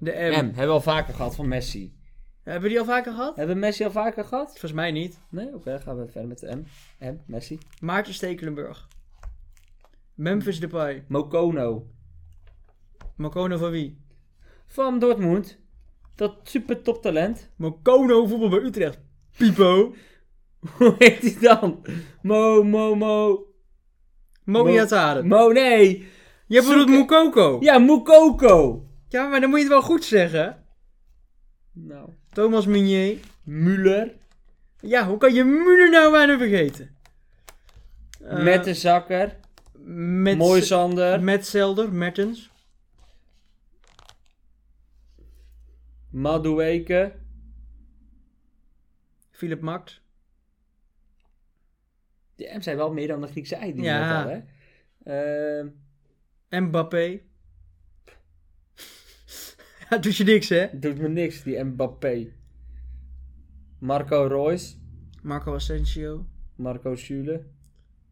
A: De M.
B: M. Hebben we al vaker gehad van Messi.
A: Hebben we die al vaker gehad?
B: Hebben we Messi al vaker gehad?
A: Volgens mij niet.
B: Nee? Oké, dan gaan we verder met de M. M, Messi.
A: Maarten Stekelenburg. Memphis Depay.
B: Mokono.
A: Mokono van wie?
B: Van Dortmund. Dat super toptalent.
A: Mokono voetbal bij Utrecht. Pipo.
B: Hoe heet hij dan? Mo, mo, mo.
A: Mogiataren.
B: Mo, nee.
A: Je bedoelt
B: Zoeken.
A: Mokoko.
B: Ja, Mukoko.
A: ja, maar dan moet je het wel goed zeggen.
B: Nou.
A: Thomas Meunier.
B: Müller.
A: Ja, hoe kan je Muller nou bijna vergeten? Eh,
B: Met de zakker.
A: met
B: Mooi Sander.
A: Met Zelder, Mertens.
B: Madueke.
A: Philip Max.
B: De M's zijn wel meer dan de Griekse ei die
A: Ja.
B: net al, hè? Ehm,
A: Mbappé. ja, doet je niks, hè?
B: doet me niks, die Mbappé. Marco Royce.
A: Marco Asensio.
B: Marco Schule.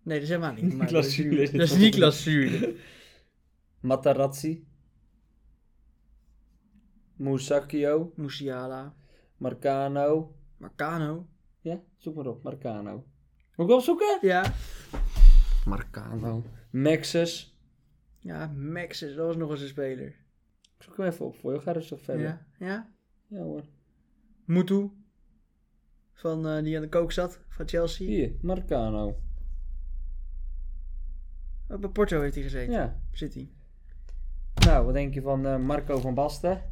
A: Nee, dat is helemaal niet.
B: Niklas Süle is het
A: Dat is
B: volgende.
A: Niklas Süle.
B: Matarazzi. Moussakio.
A: Musiala.
B: Marcano.
A: Marcano.
B: Ja, zoek maar op. Marcano. Moet ik opzoeken?
A: Ja.
B: Marcano. Maxus.
A: Ja, Max is, dat was nog eens een speler.
B: Ik zoek hem even op voor je. Ga rustig verder. Ja,
A: Ja. Ja.
B: hoor.
A: Mutu. Van, eh, die aan de kook zat. Van Chelsea.
B: Hier, Marcano.
A: Ook bij Porto heeft hij gezeten.
B: Ja.
A: Zit hij.
B: Nou, wat denk je van eh, Marco van Basten?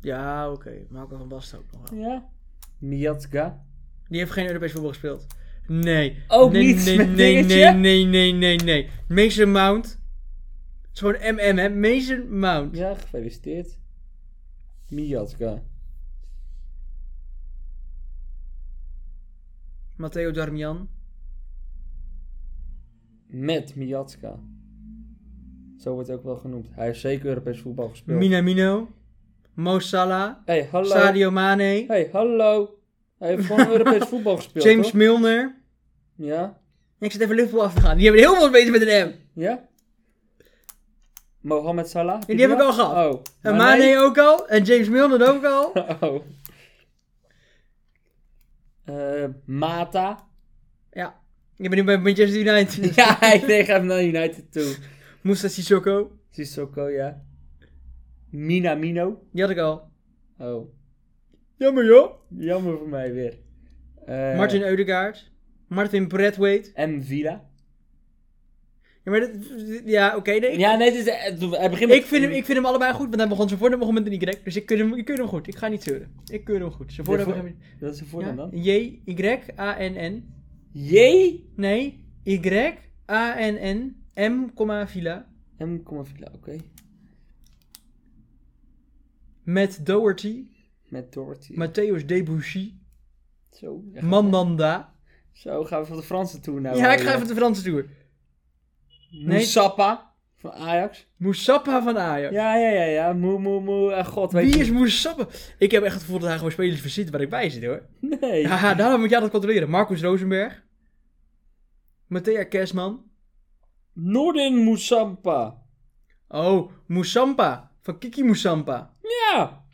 A: Ja, oké. Marco van Basten ook nog wel.
B: Ja. Miatska.
A: Die heeft geen Europees voetbal gespeeld. Nee.
B: Ook
A: nee,
B: niet
A: Nee,
B: met
A: nee,
B: dingetje?
A: nee, nee, nee, nee, nee. Mason Mount. Het is gewoon MM, hè. Mason Mount.
B: Ja, gefeliciteerd. Miatska.
A: Matteo Darmian.
B: Met Miatska. Zo wordt het ook wel genoemd. Hij heeft zeker Europees voetbal gespeeld.
A: Minamino. Mo Salah.
B: hey, hallo.
A: Sadio Mane.
B: hey, hallo. Hij heeft gewoon Europees voetbal gespeeld,
A: James
B: hoor.
A: Milner.
B: Ja?
A: Ik zit even Liverpool af te gaan. Die hebben heel veel bezig met een M.
B: Ja? Mohamed Salah?
A: die heb ik al gehad.
B: Oh.
A: En
B: maar
A: Mane
B: nee.
A: ook al. En James Milner ook al.
B: Oh. Eh, Mata.
A: Ja. Ik ben nu bij Manchester United.
B: Ja, hij nee, gaat naar United toe.
A: Moussa Sissoko.
B: Sissoko, ja. Minamino.
A: Die had ik al.
B: Oh.
A: Jammer joh.
B: Jammer voor mij weer. Eh,
A: Martin Eudegaard. Martin Bradwaite.
B: En Villa.
A: Ja, maar dit- ja oké. nee, ik,
B: Ja, nee, het is, het- hij begint met-
A: ik, vind hem, ik vind hem allebei goed, want hij begon zijn voornaam begon met een Y. Dus ik keur hem, ik keur hem goed. Ik ga niet zeuren. Ik keur hem goed. Zijn voornaam
B: voor-
A: begon met
B: Dat is een
A: ja,
B: voornaam dan.
A: J-Y-A-N-N.
B: J.
A: Nee, Y-A-N-N. M, comma, Villa.
B: M, komma, Villa, oké.
A: Met Doherty.
B: Met Doherty.
A: Matthäus Debussy.
B: Zo. ja.
A: Mandanda.
B: Zo, gaan we van de Franse toe nou.
A: Ja, ik
B: eh,
A: ga even de Franse toer. nee.
B: Moussappa van Ajax.
A: Moussappa van Ajax.
B: Ja, ja, ja, ja. Moe, moe, moe. Eh, god, weet
A: Wie
B: je.
A: is Moussappa? Ik heb echt het gevoel dat hij gewoon spelers verzint waar ik bij zit hoor.
B: Nee.
A: Haha, daarom moet jij dat controleren. Marcus Rosenberg. Matthea Kersman.
B: Noordin Moussampa.
A: Oh, Moussampa. Van Kiki Moussampa.
B: Ja.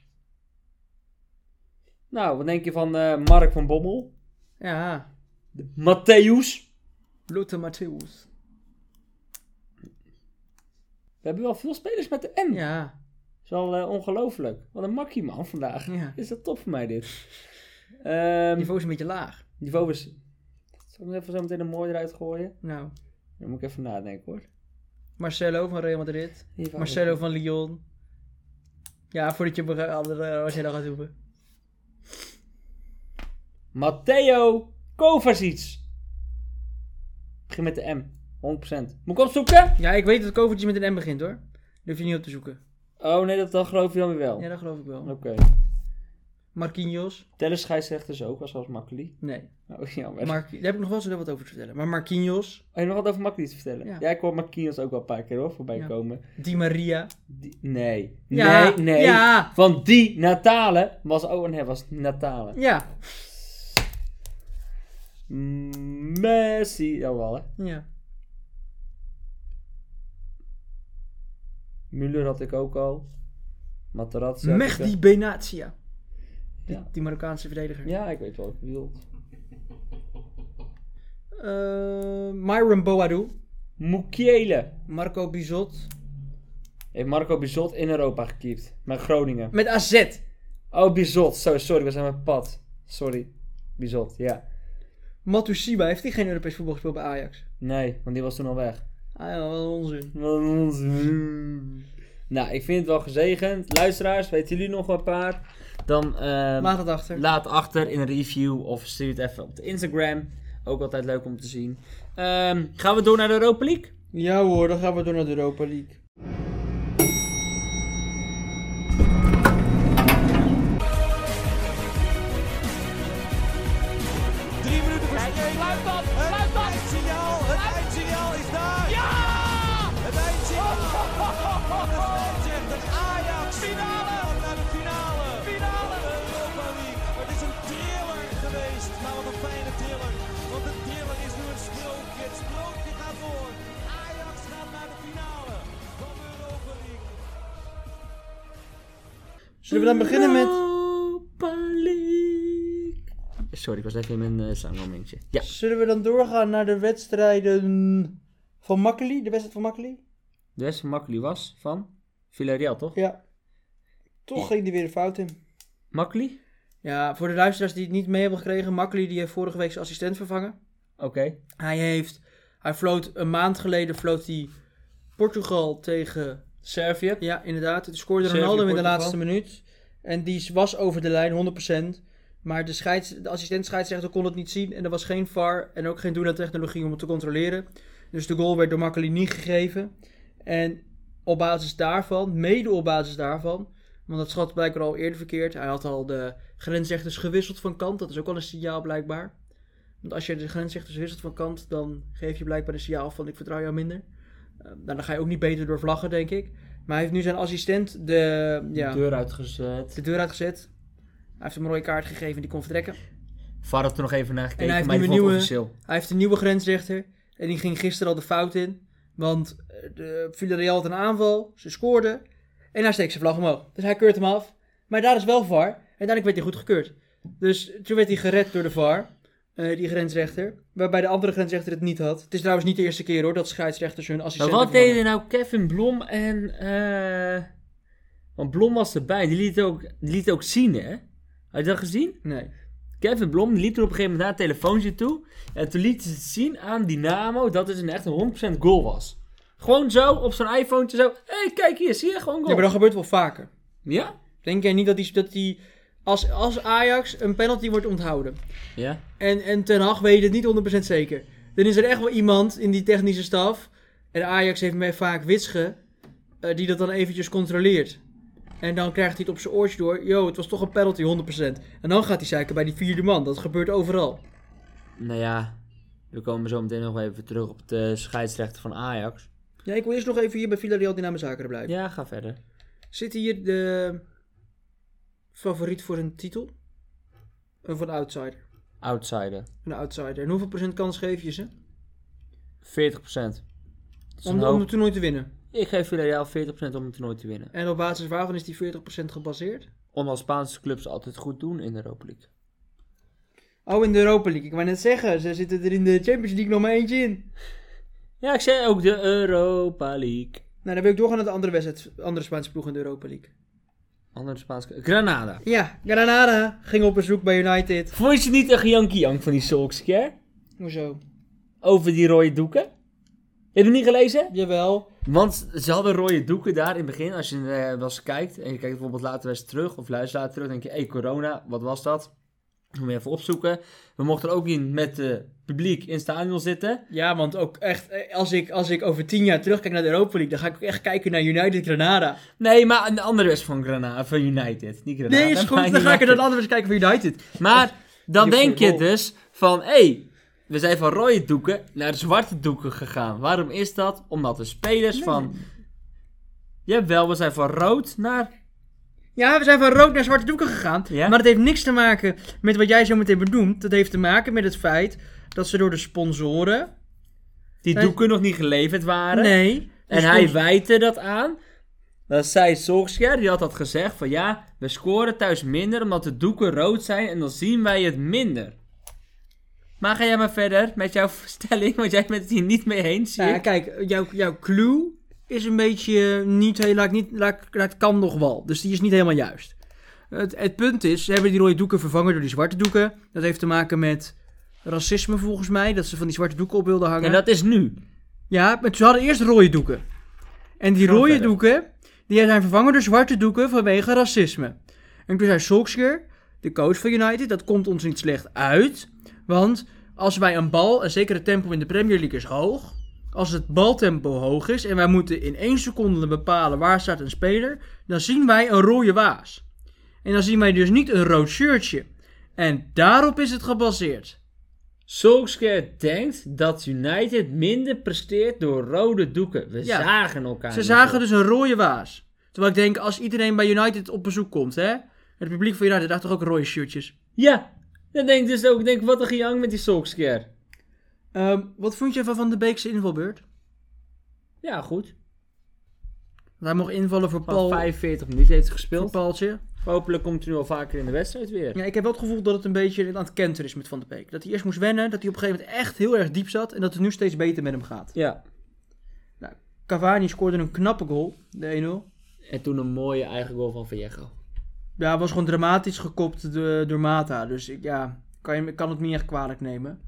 B: Nou, wat denk je van eh, Mark van Bommel?
A: Ja,
B: Matthäus.
A: Lotte Matthäus.
B: We hebben wel veel spelers met de M.
A: Ja,
B: is wel eh, ongelooflijk. Wat een makkie man vandaag.
A: Ja.
B: Is dat top voor mij dit? Ehm
A: niveau is een beetje laag.
B: niveau is... Zal ik er even zo meteen een mooi eruit gooien?
A: Nou,
B: Dan moet ik even nadenken hoor.
A: Marcelo van Real Madrid.
B: Hier wou
A: Marcelo
B: ik-
A: van Lyon. Ja, voordat je bega- alle- Marcelo gaat roepen.
B: Matteo Kovacic. Begin met de M. 100%. Moet ik opzoeken?
A: Ja, ik weet dat Kovacic met een M begint hoor. Daar hoef je niet op te zoeken.
B: Oh nee, dat, dat geloof je dan weer wel.
A: Ja, dat geloof ik wel.
B: Oké.
A: Marquinhos?
B: Telles scheidsrechters ook, was als Makkeli.
A: Nee.
B: Oh, jammer. Maar...
A: Mar- Daar heb ik nog wel zo wat over te vertellen. Maar Marquinhos,
B: Heb je nog wat over Makkeli te vertellen? Ja,
A: Ja.
B: ik hoor Marquinhos ook wel een paar keer hoor, voorbij
A: Ja.
B: komen.
A: Di Maria.
B: Die- Nee.
A: Ja,
B: Nee, nee.
A: ja.
B: Want die Natale was... Oh nee, was Natale.
A: Ja.
B: Mm, Messi. Jawel hè.
A: Ja.
B: Müller had ik ook al. Materazzi. had ik al.
A: Mehdi Benatia.
B: Ja.
A: Die Marokkaanse verdediger.
B: Ja, ik weet wel wat je bedoelt.
A: Eh, Myron Boadu.
B: Mukiele.
A: Marco Bizot.
B: Heeft Marco Bizot in Europa gekiept. Met Groningen.
A: Met AZ.
B: Oh, Bizot. Zo, sorry, we zijn mijn pad. Sorry. Bizot, ja.
A: Matusiba. Heeft hij geen Europees voetbal gespeeld bij Ajax?
B: Nee, want die was toen al weg.
A: Ah ja, wat een onzin.
B: Wat een onzin. Nou, ik vind het wel gezegend. Luisteraars, weten jullie nog een paar? Dan ehm,
A: Laat het achter.
B: laat achter in een review of stuur het even op de Instagram. Ook altijd leuk om te zien. Ehm, gaan we door naar de Europa League?
A: Ja hoor, dan gaan we door naar de Europa League.
D: Sluit dat,
E: Het
D: sluit dat.
E: eindsignaal, het eindsignaal is daar.
D: Ja!
E: Het eindsignaal. De scheidsrechter Ajax.
D: Finale.
E: Naar de finale.
D: Finale.
E: Van de Europa League. Het is een thriller geweest, maar wat een fijne thriller. Want de thriller is nu een sprookje. Het sprookje gaat door. Ajax gaat naar de finale van de Europa League.
A: Zullen we dan beginnen met...
B: Europa League. Sorry, ik was even in mijn uh, samenmomentje. Ja.
A: Zullen we dan doorgaan naar de wedstrijden van Makkeli? De wedstrijd van Makkeli?
B: De rest van Makkeli was van Villarreal, toch?
A: Ja. Toch ging die weer de fout in.
B: Makkeli?
A: Ja, voor de luisteraars die het niet mee hebben gekregen, Makkeli die heeft vorige week zijn assistent vervangen.
B: Oké.
A: Hij heeft, hij floot een maand geleden floot hij Portugal tegen,
B: Servië.
A: ja inderdaad, het scoorde
B: Servië,
A: Ronaldo in de
B: Portugal.
A: laatste minuut. En die was over de lijn, 100%. Maar de, scheids, de assistent scheidsrechter kon het niet zien en er was geen VAR en ook geen doeltechnologie om het te controleren. Dus de goal werd door Makkeli niet gegeven. En op basis daarvan, mede op basis daarvan, want dat schat blijkbaar al eerder verkeerd. Hij had al de grensrechters gewisseld van kant. Dat is ook al een signaal blijkbaar. Want als je de grensrechters wisselt van kant, dan geef je blijkbaar een signaal van ik vertrouw jou minder. Eh, nou, dan ga je ook niet beter door vlaggen, denk ik. Maar hij heeft nu zijn assistent de, ja,
B: Deur uitgezet.
A: de deur uitgezet. Hij heeft hem een rode kaart gegeven en die kon vertrekken.
B: VAR had er nog even naar gekeken,
A: En hij heeft
B: maar
A: nu
B: die
A: een
B: vond het
A: nieuwe-
B: officieel.
A: Hij heeft een nieuwe grensrechter. En die ging gisteren al de fout in. Want eh, de Villarreal had een aanval. Ze scoorden. En hij steekt zijn vlag omhoog. Dus hij keurt hem af. Maar daar is wel VAR. En uiteindelijk werd hij goed gekeurd. Dus toen werd hij gered door de VAR. eh, die grensrechter. Waarbij de andere grensrechter het niet had. Het is trouwens niet de eerste keer hoor. Dat scheidsrechters hun
B: Maar
A: assistenten
B: wat
A: vervangen.
B: deden nou Kevin Blom en... eh want Blom was erbij. Die liet het ook, die liet het ook zien, hè? Had je dat gezien?
A: Nee.
B: Kevin Blom die liep er op een gegeven moment naar het telefoontje toe. En toen liet ze het zien aan Dynamo dat het een echt een 100% goal was. Gewoon zo, op zo'n iPhone zo. Hé, hey, kijk hier, zie je gewoon goal.
A: Ja, maar dat gebeurt wel vaker.
B: Ja?
A: Denk jij niet dat die... Dat die als, als Ajax een penalty wordt onthouden.
B: Ja.
A: En, en Ten Hag weet het niet 100% zeker. Dan is er echt wel iemand in die technische staf. En Ajax heeft mij vaak Witsche. eh, die dat dan eventjes controleert. En dan krijgt hij het op zijn oortje door. Yo, het was toch een penalty 100%. En dan gaat hij zeiken bij die vierde man. Dat gebeurt overal.
B: Nou ja, we komen zo meteen nog even terug op de scheidsrechter van Ajax.
A: Ja, ik wil eerst nog even hier bij Villarreal Dynamo Zakeren blijven.
B: Ja, ga verder.
A: Zit hier de favoriet voor een titel? Of een outsider?
B: Outsider. 40%.
A: Een outsider. En hoeveel procent kans geef je ze?
B: Het is een
A: Om, om
B: hoog-
A: het toernooi te winnen.
B: Ik geef Villarreal 40% om het toernooi te winnen.
A: En op basis waarvan is die 40% gebaseerd?
B: Omdat Spaanse clubs altijd goed doen in de Europa League.
A: Oh, in de Europa League. Ik wou net zeggen, ze zitten er in de Champions League nog maar eentje in.
B: Ja, ik zei ook de Europa League.
A: Nou, dan wil ik doorgaan naar de andere wedstrijd, andere Spaanse ploeg in de Europa League.
B: Andere Spaanse... Granada.
A: Ja, Granada ging op bezoek bij United.
B: Vond je niet een gejankijank van die Solskjaer?
A: Hoezo?
B: Over die rode doeken? Heb je het niet gelezen?
A: Jawel.
B: Want ze hadden rode doeken daar in het begin. Als je eh, wel eens kijkt en je kijkt bijvoorbeeld later eens terug of luistert later terug, denk je: hé, hey, corona, wat was dat? Moet je even opzoeken. We mochten er ook niet met het publiek in het stadion zitten.
A: Ja, want ook echt, eh, als ik, als ik over tien jaar terugkijk naar de Europa League, dan ga ik ook echt kijken naar United Granada.
B: Nee, maar een andere wedstrijd van Granada, van United. Niet Granada.
A: Nee, is
B: maar
A: goed. Dan ga ik er dan
B: United.
A: anders kijken voor United.
B: Maar dan
A: Die
B: denk je
A: voetbal.
B: dus van: hé, hey, we zijn van rode doeken naar zwarte doeken gegaan. Waarom is dat? Omdat de spelers van. Jawel, we zijn van rood naar.
A: Ja, we zijn van rood naar zwarte doeken gegaan.
B: Ja.
A: Maar dat heeft niks te maken met wat jij zo meteen benoemt. Dat heeft te maken met het feit dat ze door de sponsoren...
B: Die
A: Zijn-
B: doeken nog niet geleverd waren.
A: Nee. de
B: En hij
A: spons-
B: wijte dat aan. Dat zei Solskjaer, die had dat gezegd van ja, we scoren thuis minder omdat de doeken rood zijn en dan zien wij het minder. Maar ga jij maar verder met jouw stelling, want jij bent het hier niet mee eens, zie
A: Nou ja,
B: ik.
A: kijk, jouw, jouw clue is een beetje eh, niet heel, laat, ik niet, laat, ik- laat kan nog wel. Dus die is niet helemaal juist. Het, het punt is, ze hebben die rode doeken vervangen door die zwarte doeken. Dat heeft te maken met racisme volgens mij, dat ze van die zwarte doeken op wilden hangen.
B: En dat is nu.
A: Ja, maar ze hadden eerst rode doeken. En die rode
B: verder.
A: doeken, die zijn vervangen door zwarte doeken vanwege racisme. En toen zei Solskjaer, de coach van United, dat komt ons niet slecht uit. Want als wij een bal, en zeker het tempo in de Premier League is hoog. Als het baltempo hoog is en wij moeten in één seconde bepalen waar staat een speler. Dan zien wij een rode waas. En dan zien wij dus niet een rood shirtje. En daarop is het gebaseerd.
B: Solskjaer denkt dat United minder presteert door rode doeken. We
A: Ja.
B: zagen elkaar.
A: Ze
B: niet
A: zagen
B: op.
A: dus een rode waas. Terwijl ik denk, als iedereen bij United op bezoek komt, hè? Het publiek van United dacht toch ook rode shirtjes.
B: Ja, dat denk ik dus ook. Ik denk, wat een gejang met die Solskjaer.
A: Ehm, wat vond je van Van de Beekse invalbeurt?
B: Ja, goed.
A: Want Hij mocht invallen voor
B: Van
A: Paul,
B: 45 minuten heeft
A: voor
B: hij gespeeld.
A: Paultje.
B: Hopelijk komt hij nu al vaker in de wedstrijd weer.
A: Ja, ik heb wel het gevoel dat het een beetje aan het kenteren is met Van de Beek. Dat hij eerst moest wennen, dat hij op een gegeven moment echt heel erg diep zat en dat het nu steeds beter met hem gaat.
B: Ja.
A: Cavani scoorde een knappe goal, de 1-0.
B: En toen een mooie eigen goal van Vallejo.
A: Ja, was gewoon dramatisch gekopt de- door Mata. Dus ik, ja, kan, je, ik kan het niet echt kwalijk nemen.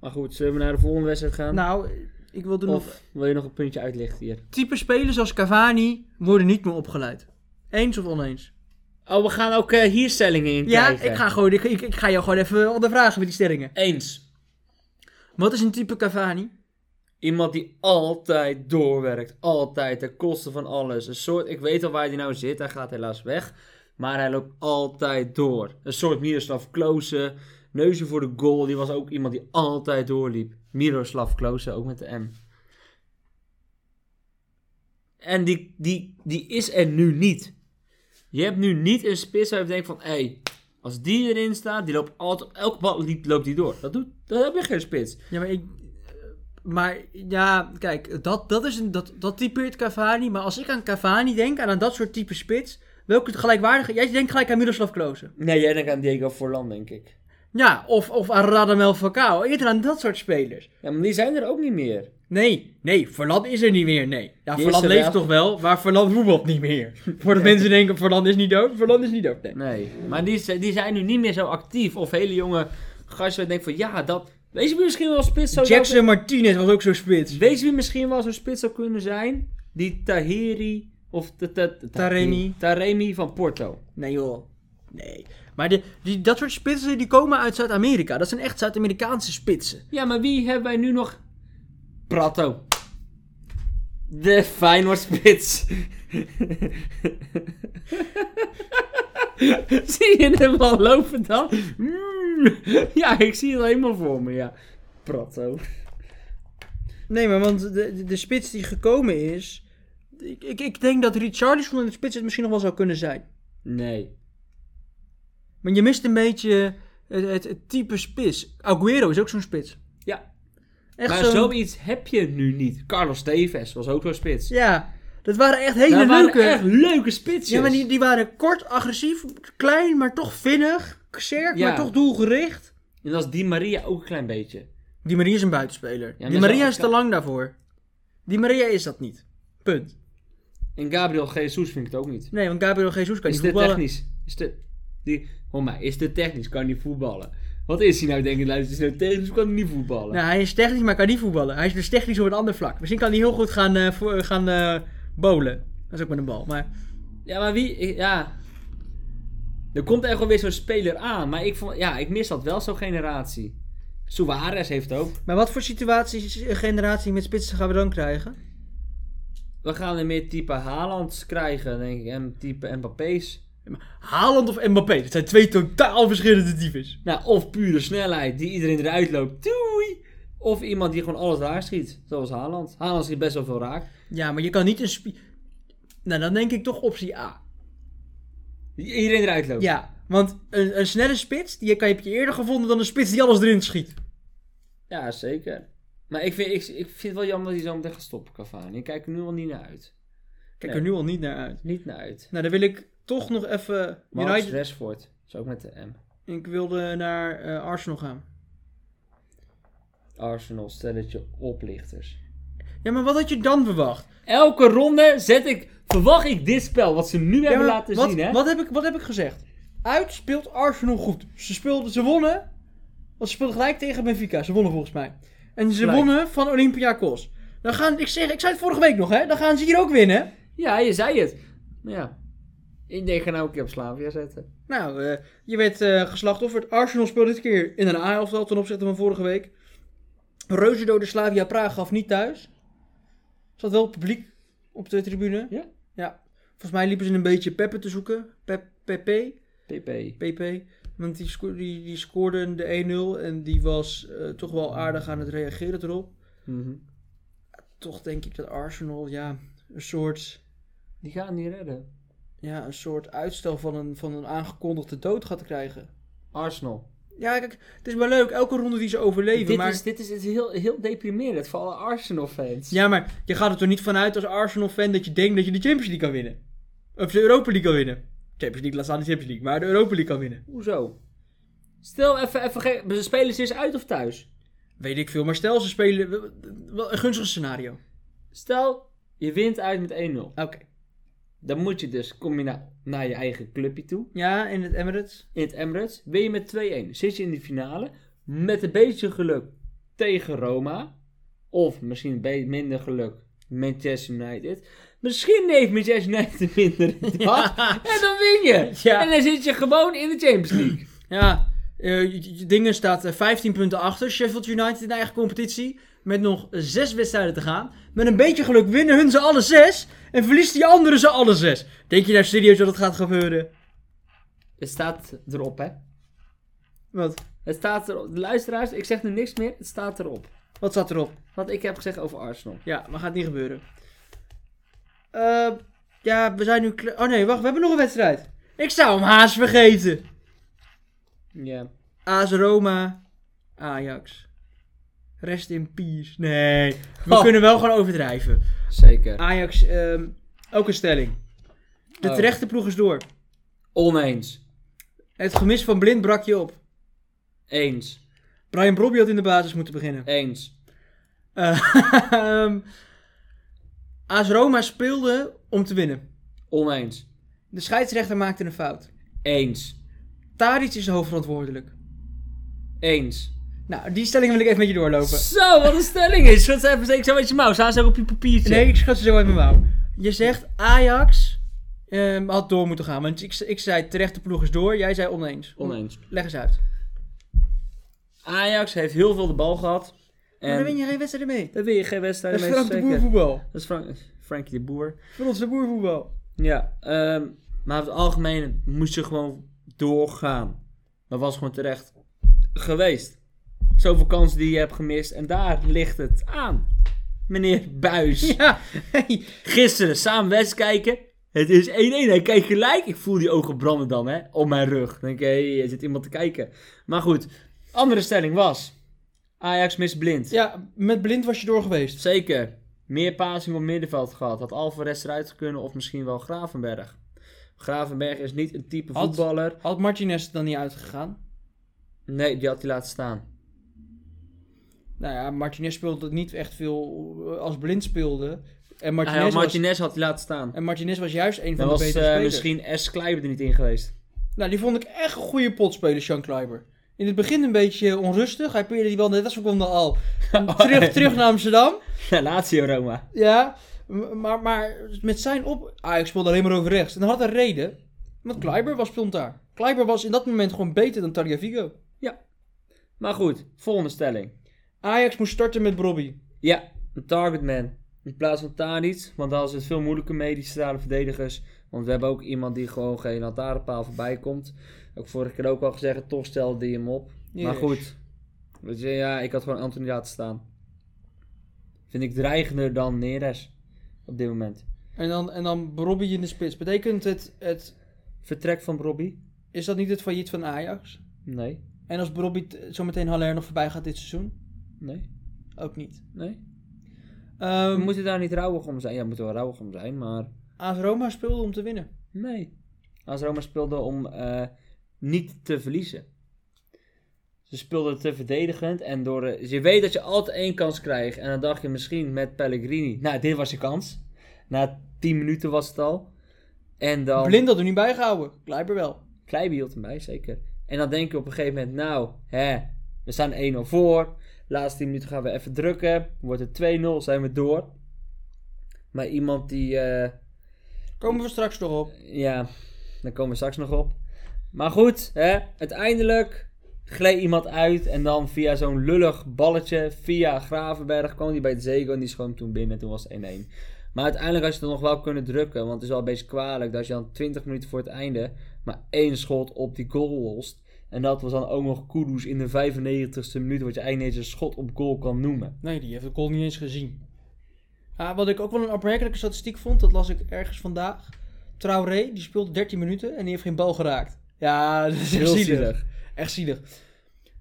B: Maar goed, zullen we naar de volgende wedstrijd gaan?
A: Nou, ik wilde nog...
B: of wil je nog een puntje uitlichten hier?
A: Type spelers als Cavani worden niet meer opgeleid. Eens of oneens?
B: Oh, we gaan ook eh, hier stellingen in
A: Ja,
B: krijgen.
A: ik ga, gewoon, ik, ik, ik ga jou gewoon even ondervragen met die stellingen.
B: Eens.
A: Wat is een type Cavani?
B: Iemand die altijd doorwerkt. Altijd. Ten koste van alles. Een soort... Ik weet al waar hij nou zit. Hij gaat helaas weg. Maar hij loopt altijd door. Een soort Miroslav Klose. Neuzen voor de goal. Die was ook iemand die altijd doorliep. Miroslav Klose, ook met de M. En die, die, die is er nu niet. Je hebt nu niet een spits waar je denkt van... Hé, hey, als die erin staat, die loopt altijd... Op elke bal liep- loopt die door. Dat, doet, dat heb je geen spits.
A: Ja, maar ik. eh, Maar ja, kijk, dat, dat, is een, dat, dat typeert Cavani. Maar als ik aan Cavani denk en aan dat soort type spits. Welke gelijkwaardige. Jij denkt gelijk aan Miroslav Klose.
B: Nee, jij denkt aan Diego Forlan, denk ik.
A: Ja, of, of aan Radamel Falcao. Eerder aan dat soort spelers.
B: Ja, maar die zijn er ook niet meer.
A: Nee, nee, Verland is er niet meer. Nee. Ja,
B: Die is
A: Verland
B: er
A: leeft
B: wel.
A: toch wel, maar Verland voetbalt niet meer. Voordat mensen denken: Verland is niet dood. Verland is niet dood. Nee.
B: Nee, maar die, z- die zijn nu niet meer zo actief. Of hele jonge gasten denken van, ja, dat... Weet je wie misschien wel spits zou
A: Jackson Martinez was ook zo'n spits.
B: Weet je wie misschien wel zo'n spits zou kunnen zijn? Die Tahiri of de, de, de-
A: Taremi.
B: Taremi van Porto.
A: Nee joh. Nee. Maar de, die, dat soort spitsen die komen uit Zuid-Amerika. Dat zijn echt Zuid-Amerikaanse spitsen.
B: Ja, maar wie hebben wij nu nog? Prato. De Feyenoord spits. zie je hem al lopen dan? Mm. Ja, ik zie het helemaal voor me, ja. Prato.
A: Nee, maar want de, de, de spits die gekomen is. Ik, ik, ik denk dat Richarlison in de spits het misschien nog wel zou kunnen zijn.
B: Nee.
A: Maar je mist een beetje het, het, het type spits. Aguero is ook zo'n spits.
B: Ja,
A: Echt
B: maar
A: zo'n-
B: zoiets heb je nu niet. Carlos Tevez was ook zo'n spits.
A: Ja, dat waren echt hele
B: Dat waren
A: leuke.
B: echt leuke spitsjes.
A: ja, maar die, die waren kort, agressief, klein, maar toch vinnig. Sterk,
B: Ja.
A: maar toch doelgericht.
B: En dat is Di Maria ook een klein beetje.
A: Die Maria is een buitenspeler.
B: maar
A: die
B: zo-
A: Maria is te lang daarvoor. Die Maria is dat niet. Punt.
B: En Gabriel Jesus vind ik het ook niet.
A: Nee, want Gabriel Jesus kan niet
B: Is te
A: voetballen.
B: technisch. Is te... Die... Hoor mij, is te technisch. Kan niet voetballen. Wat is hij nou denken? Luister, is hij nou technisch? Kan hij niet voetballen?
A: Nou, hij is technisch, maar kan niet voetballen. Hij is dus technisch op een ander vlak. Misschien kan hij heel goed gaan, eh vo- gaan eh bowlen. Dat is ook met een bal. Maar
B: Ja, maar wie... Ja... Er komt echt wel weer zo'n speler aan. Maar ik, vond, ja, ik mis dat wel, zo'n generatie. Suarez heeft het ook.
A: Maar wat voor situaties, eh, generatie met spitsen gaan we dan krijgen?
B: We gaan er meer type Haalands krijgen, denk ik. En type Mbappé's.
A: Haaland of Mbappé? Dat zijn twee totaal verschillende types.
B: Nou, of pure snelheid die iedereen eruit loopt. Doei! Of iemand die gewoon alles raar schiet. Zoals Haaland. Haaland schiet best wel veel raak.
A: Ja, maar je kan niet een spi- Nou, dan denk ik toch optie A.
B: Die Iedereen eruit loopt.
A: Ja, want een, een snelle spits, die kan, heb je eerder gevonden dan een spits die alles erin schiet.
B: Ja, zeker. Maar ik vind, ik, ik vind het wel jammer dat hij zo meteen gaat stoppen, Cavani. Ik kijk er nu al niet naar uit.
A: Kijk
B: Nee.
A: er nu al niet naar uit.
B: Niet naar uit.
A: Nou, dan wil ik toch nog even...
B: Mark
A: United...
B: Rashford. Is ook met de M.
A: Ik wilde naar eh, Arsenal gaan.
B: Arsenal, stelletje oplichters.
A: Ja, maar wat had je dan verwacht?
B: Elke ronde zet ik, verwacht ik dit spel, wat ze nu hebben
A: maar
B: laten
A: wat,
B: zien, hè?
A: Wat heb, ik, wat heb ik gezegd? Uit speelt Arsenal goed. Ze, speelden, ze wonnen. Want ze speelden gelijk tegen Benfica. Ze wonnen volgens mij. En ze
B: Gelijk.
A: wonnen van Olympiakos. Dan gaan, ik, zeg, ik zei het vorige week nog, hè? Dan gaan ze hier ook winnen.
B: Ja, je zei het. Nou Ja. Ik denk, ga nou een keer op Slavia zetten.
A: Nou, eh, je werd eh geslachtofferd. Arsenal speelde dit keer in een A-elftal ten opzichte van vorige week. Reuze de Slavia Praag gaf niet thuis. Er zat wel publiek op de tribune.
B: Ja.
A: Ja. Volgens mij liepen ze een beetje Peppe te zoeken. Pep- Pepe.
B: PP.
A: PP. Want die, sco- die, die scoorde de 1-0 en die was eh, toch wel aardig aan het reageren erop.
B: Mhm.
A: Toch denk ik dat Arsenal ja, een, soort,
B: Die gaan niet redden.
A: ja, een soort uitstel van een, van een aangekondigde dood gaat krijgen.
B: Arsenal.
A: Ja, kijk, het is wel leuk. Elke ronde die ze overleven.
B: dit,
A: maar...
B: is, dit is het heel, heel deprimerend voor alle Arsenal-fans.
A: Ja, maar je gaat er toch niet vanuit als Arsenal-fan dat je denkt dat je de Champions League kan winnen? Of de Europa League kan winnen? Champions League, laat staan de Champions League, maar de Europa League kan winnen.
B: Hoezo? Stel even, even ge- spelen ze eens uit of thuis?
A: Weet ik veel, maar stel ze spelen. Wel een gunstig scenario. Oké.
B: Stel, je wint uit met 1-0. Dan moet je dus, kom je naar, naar je eigen clubje toe,
A: Ja, in het Emirates.
B: in het Emirates. Win je met 2-1, zit je in de finale. Met een beetje geluk tegen Roma. Of misschien een beetje minder geluk Manchester United. Misschien heeft Manchester United minder dan dat. En dan win je.
A: Ja.
B: En dan zit je gewoon in de Champions League.
A: Ja, eh, je- je Dingen staat eh, 15 punten achter. Sheffield United in de eigen competitie. Met nog zes wedstrijden te gaan. Met een beetje geluk winnen hun ze alle zes. En verliest die anderen ze alle zes. Denk je nou serieus dat het gaat gebeuren?
B: Het staat erop, hè.
A: Wat?
B: Het staat erop. De luisteraars, ik zeg nu niks meer. Het staat erop.
A: Wat staat erop?
B: Wat ik heb gezegd over Arsenal.
A: Ja, maar gaat niet gebeuren. Eh, ja, we zijn nu klaar. Oh nee, wacht, we hebben nog een wedstrijd. Ik zou hem haast vergeten.
B: Ja.
A: AS Roma, Ajax. Rest in peace. Nee, we kunnen wel gewoon overdrijven.
B: Zeker.
A: Ajax, ehm, ook een stelling. De
B: Oh.
A: terechte ploeg is door.
B: Oneens.
A: Het gemis van Blind brak je op.
B: Eens.
A: Brian Brobby had in de basis moeten beginnen.
B: Eens.
A: Eh, ehm, AS Roma speelde om te winnen.
B: Oneens.
A: De scheidsrechter maakte een fout.
B: Eens.
A: Tadic is de hoofdverantwoordelijk.
B: Eens.
A: Nou, die stelling wil ik even met je doorlopen.
B: Zo, wat een stelling is. Schud ze even zeker zo met je mouw. Staan ze ook op je papiertje.
A: Nee, ik schat ze zo uit mijn mouw. Je zegt Ajax ehm, had door moeten gaan. Want ik, ik zei terecht de ploeg is door. Jij zei oneens.
B: Oneens.
A: Leg eens uit.
B: Ajax heeft heel veel de bal gehad.
A: Maar
B: En
A: dan win je geen wedstrijd mee.
B: daar win je geen wedstrijd
A: Dat is
B: mee.
A: Frank de
B: zeker.
A: Boer voetbal.
B: Dat is Frank, Frankie de Boer.
A: Van onze boer voetbal.
B: Ja, ehm, maar over het algemeen moest je gewoon doorgaan. Dat was gewoon terecht geweest. Zoveel kansen die je hebt gemist en daar ligt het aan. Meneer Buis.
A: Ja, hey.
B: Gisteren samen wedst kijken. Het is 1-1. Hij kijkt gelijk. Ik voel die ogen branden dan, hè. Op mijn rug. Dan denk ik, hé, er zit iemand te kijken. Maar goed. Andere stelling was... Ajax mist blind.
A: ja, met blind was je door geweest.
B: Zeker. Meer passing op middenveld gehad. Had Alvarez eruit kunnen of misschien wel Gravenberg. Gravenberg is niet een type
A: Had-
B: voetballer.
A: Had Martinez er dan niet uitgegaan?
B: Nee, die had hij laten staan.
A: Nou ja, Martinez speelde niet echt veel eh, als blind speelde. En Martinez, was,
B: Martinez, had, Martinez had hij laten staan.
A: en Martinez was juist een van
B: Dan
A: de
B: was
A: betere
B: eh,
A: spelers.
B: misschien S. Kleiber er niet in geweest.
A: Nou, die vond ik echt een goede potspeler, Sean Kleiber. In het begin een beetje onrustig. Hij peerde die bal net als seconde al. Terug, terug naar Amsterdam.
B: Lazio Roma.
A: Ja, m- maar, maar met zijn op... Ajax speelde alleen maar over rechts. En dat had een reden. Want Kleiber was stond daar. Kleiber was in dat moment gewoon beter dan Tagliafico.
B: Maar goed, volgende stelling.
A: Ajax moest starten met Brobby.
B: Ja, een targetman. In plaats van Tadic, want daar is het veel moeilijker mee, die centrale verdedigers. Want we hebben ook iemand die gewoon geen lantaarnpaal voorbij komt. Ook vorige keer ook al gezegd, toch stelde die hem op. Maar
A: Yes.
B: goed, weet je, ja, ik had gewoon Anthony laten staan. Vind ik dreigender dan Neres op dit moment.
A: En dan, en dan Brobby in de spits. Betekent het, het...
B: Vertrek van Robbie?
A: Is dat niet het failliet van Ajax?
B: Nee,
A: En als Brobby t- zometeen Haller nog voorbij gaat dit seizoen?
B: nee,
A: Ook niet.
B: nee. We
A: Ehm
B: moeten daar niet rouwig om zijn. Ja, we moeten wel rouwig om zijn, maar
A: AS Roma speelde om te winnen.
B: Nee. Als Roma speelde om eh, niet te verliezen. Ze speelden te verdedigend en door. eh, dus je weet dat je altijd één kans krijgt. En dan dacht je misschien met Pellegrini. Nou, dit was je kans. Na 10 minuten was het al. En dan.
A: Blind had er niet bijgehouden. Kleiber wel.
B: Kleiber hield hem bij, zeker. En dan denk je op een gegeven moment, nou, hè, we staan 1-0 voor. Laatste 10 minuten gaan we even drukken. Wordt het 2-0, zijn we door. Maar iemand die. eh,
A: Komen we straks nog op.
B: Ja, daar komen we straks nog op. Maar goed, hè, uiteindelijk gleed iemand uit en dan via zo'n lullig balletje, via Gravenberg, kwam hij bij het Zego en die schoot hem toen binnen en toen was het 1-1. Maar uiteindelijk had je het nog wel kunnen drukken, want het is wel een beetje kwalijk dat je dan 20 minuten voor het einde maar één schot op die goal lost. En dat was dan ook nog Kudus in de 95ste minuut, wat je eigenlijk niet eens een schot op goal kan noemen.
A: Nee, die heeft de goal niet eens gezien. Ah, wat ik ook wel een opmerkelijke statistiek vond, dat las ik ergens vandaag. Traoré, die speelde 13 minuten en die heeft geen bal geraakt. Ja, dat is echt
B: Heel
A: zielig.
B: zielig.
A: Echt zielig.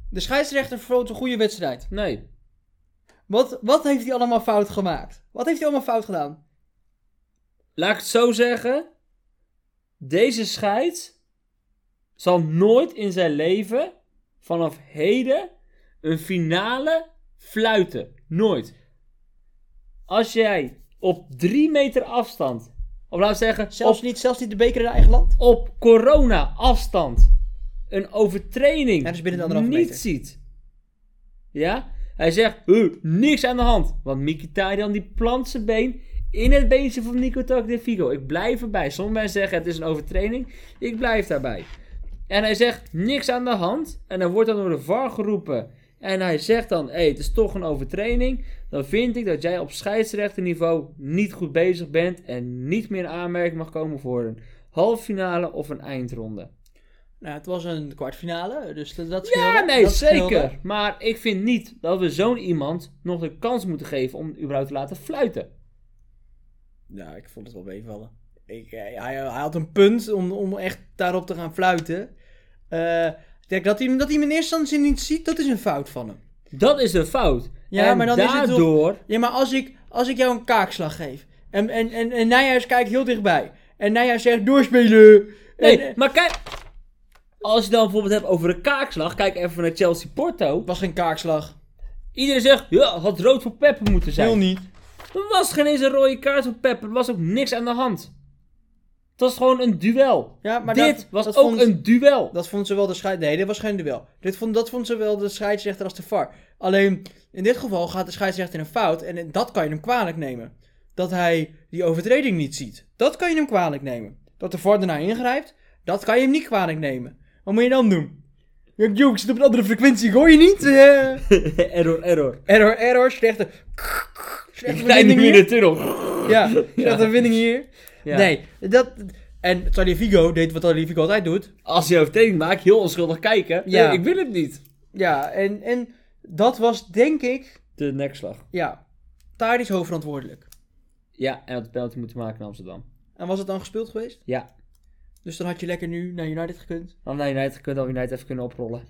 A: De scheidsrechter verloot een goede wedstrijd.
B: Nee,
A: Wat, wat heeft hij allemaal fout gemaakt? Wat heeft hij allemaal fout gedaan?
B: laat ik het zo zeggen. Deze scheids zal nooit in zijn leven vanaf heden een finale fluiten. Nooit. Als jij op drie meter afstand, of laat ik zeggen,
A: Zelfs,
B: op,
A: niet, zelfs niet de beker in eigen land?
B: op corona afstand een overtreding
A: Ja, dus binnen de anderhalve
B: niet
A: meter.
B: ziet. Ja? Hij zegt, "Huh, niks aan de hand. Want Mkhitaryan die plant zijn been in het beentje van Nico Tagliafico. Ik blijf erbij. Sommige mensen zeggen het is een overtreding. Ik blijf daarbij. En hij zegt, niks aan de hand. En dan wordt dan door de VAR geroepen. En hij zegt dan, hé, het is toch een overtreding. Dan vind ik dat jij op scheidsrechterniveau niet goed bezig bent. En niet meer in aanmerking mag komen voor een halve finale of een eindronde.
A: Nou, het was een kwartfinale, dus dat, dat
B: Ja,
A: scheelde.
B: nee,
A: Dat scheelde.
B: zeker. Maar ik vind niet dat we zo'n iemand nog de kans moeten geven om überhaupt te laten fluiten.
A: Ja, ik vond het wel meevallen. Ik, eh, hij, hij had een punt om, om echt daarop te gaan fluiten. Eh, ik denk dat hij, hem- dat hij hem in eerste instantie niet ziet, dat is een fout van hem.
B: Dat is een fout.
A: Ja,
B: en
A: maar dan is het toch-
B: daardoor
A: Ja, maar als ik, als ik jou een kaakslag geef en, en, en, en Nijhuis kijkt heel dichtbij en Nijhuis zegt doorspelen.
B: Nee,
A: en, eh,
B: maar kijk. Als je het dan bijvoorbeeld hebt over een kaakslag, kijk even naar Chelsea Porto.
A: was geen kaakslag.
B: Iedereen zegt, ja, had rood voor Peppe moeten zijn.
A: Heel niet.
B: Er was geen eens een rode kaart voor Peppe, er was ook niks aan de hand. Het was gewoon een duel.
A: Ja, maar
B: Dit
A: dat-
B: was
A: dat
B: ook
A: vond-
B: een duel.
A: Dat vond ze wel de scheidsrechter. Nee, dit was geen duel. Dit vond, dat vond ze wel de scheidsrechter als de VAR. Alleen in dit geval gaat de scheidsrechter in een fout. En in- dat kan je hem kwalijk nemen. Dat hij die overtreding niet ziet. Dat kan je hem kwalijk nemen. Dat de VAR daarna ingrijpt. Dat kan je hem niet kwalijk nemen. Wat moet je dan doen? Ja, joh, ik zit op een andere frequentie. Ik hoor je niet. Eh,
B: error, error.
A: error, error. Slechte. Slechte
B: Klein
A: verbinding
B: nu in de
A: hier.
B: tunnel.
A: Ja, slechte verbinding hier.
B: Ja.
A: Nee, dat. En Taliafico deed wat Taliafico altijd doet.
B: Als je overtreding maakt, heel onschuldig kijken.
A: Ja.
B: Nee, ik wil het niet.
A: Ja, en, en dat was denk ik,
B: De nekslag.
A: ja, daar is hoofdverantwoordelijk.
B: Ja, en had de penalty moeten maken in Amsterdam.
A: En was het dan gespeeld geweest?
B: Ja.
A: Dus dan had je lekker nu naar United gekund.
B: Dan had United kunnen, dan had United even kunnen oprollen.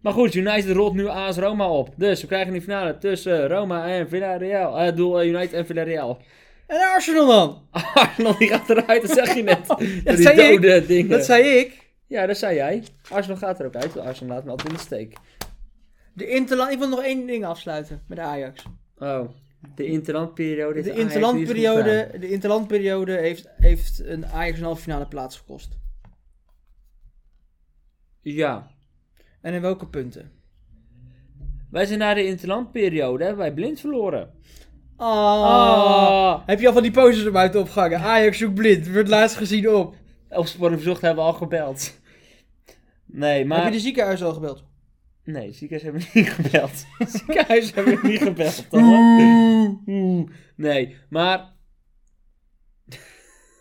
B: Maar goed, United rolt nu AS Roma op. Dus we krijgen die finale tussen Roma en Villarreal. Eh, Ik bedoel, eh, United en Villarreal.
A: En Arsenal dan?
B: Arsenal die gaat eruit, dat zeg je net. dat
A: zei ik.
B: dode dingen.
A: Dat zei ik.
B: Ja, dat zei jij. Arsenal gaat er ook uit. Arsenal laat me altijd in de steek.
A: De Interland, ik wil nog één ding afsluiten met de Ajax.
B: Oh, de interlandperiode. heeft
A: De
B: Ajax niet goed gedaan.
A: interlandperiode, de interlandperiode heeft, heeft een Ajax een halve finale plaats gekost.
B: Ja.
A: En in welke punten?
B: Wij zijn na de interlandperiode, hebben wij blind verloren.
A: Ah.
B: Ah.
A: Heb je al van die posters er buiten opgehangen? Ajax zoekt blind, wordt laatst gezien op.
B: Opsporing verzocht hebben we al gebeld. Nee, maar...
A: Heb je de ziekenhuis al gebeld?
B: Nee, ziekenhuis hebben we niet gebeld. ziekenhuis hebben we niet gebeld. Dan. Oeh. Nee, maar...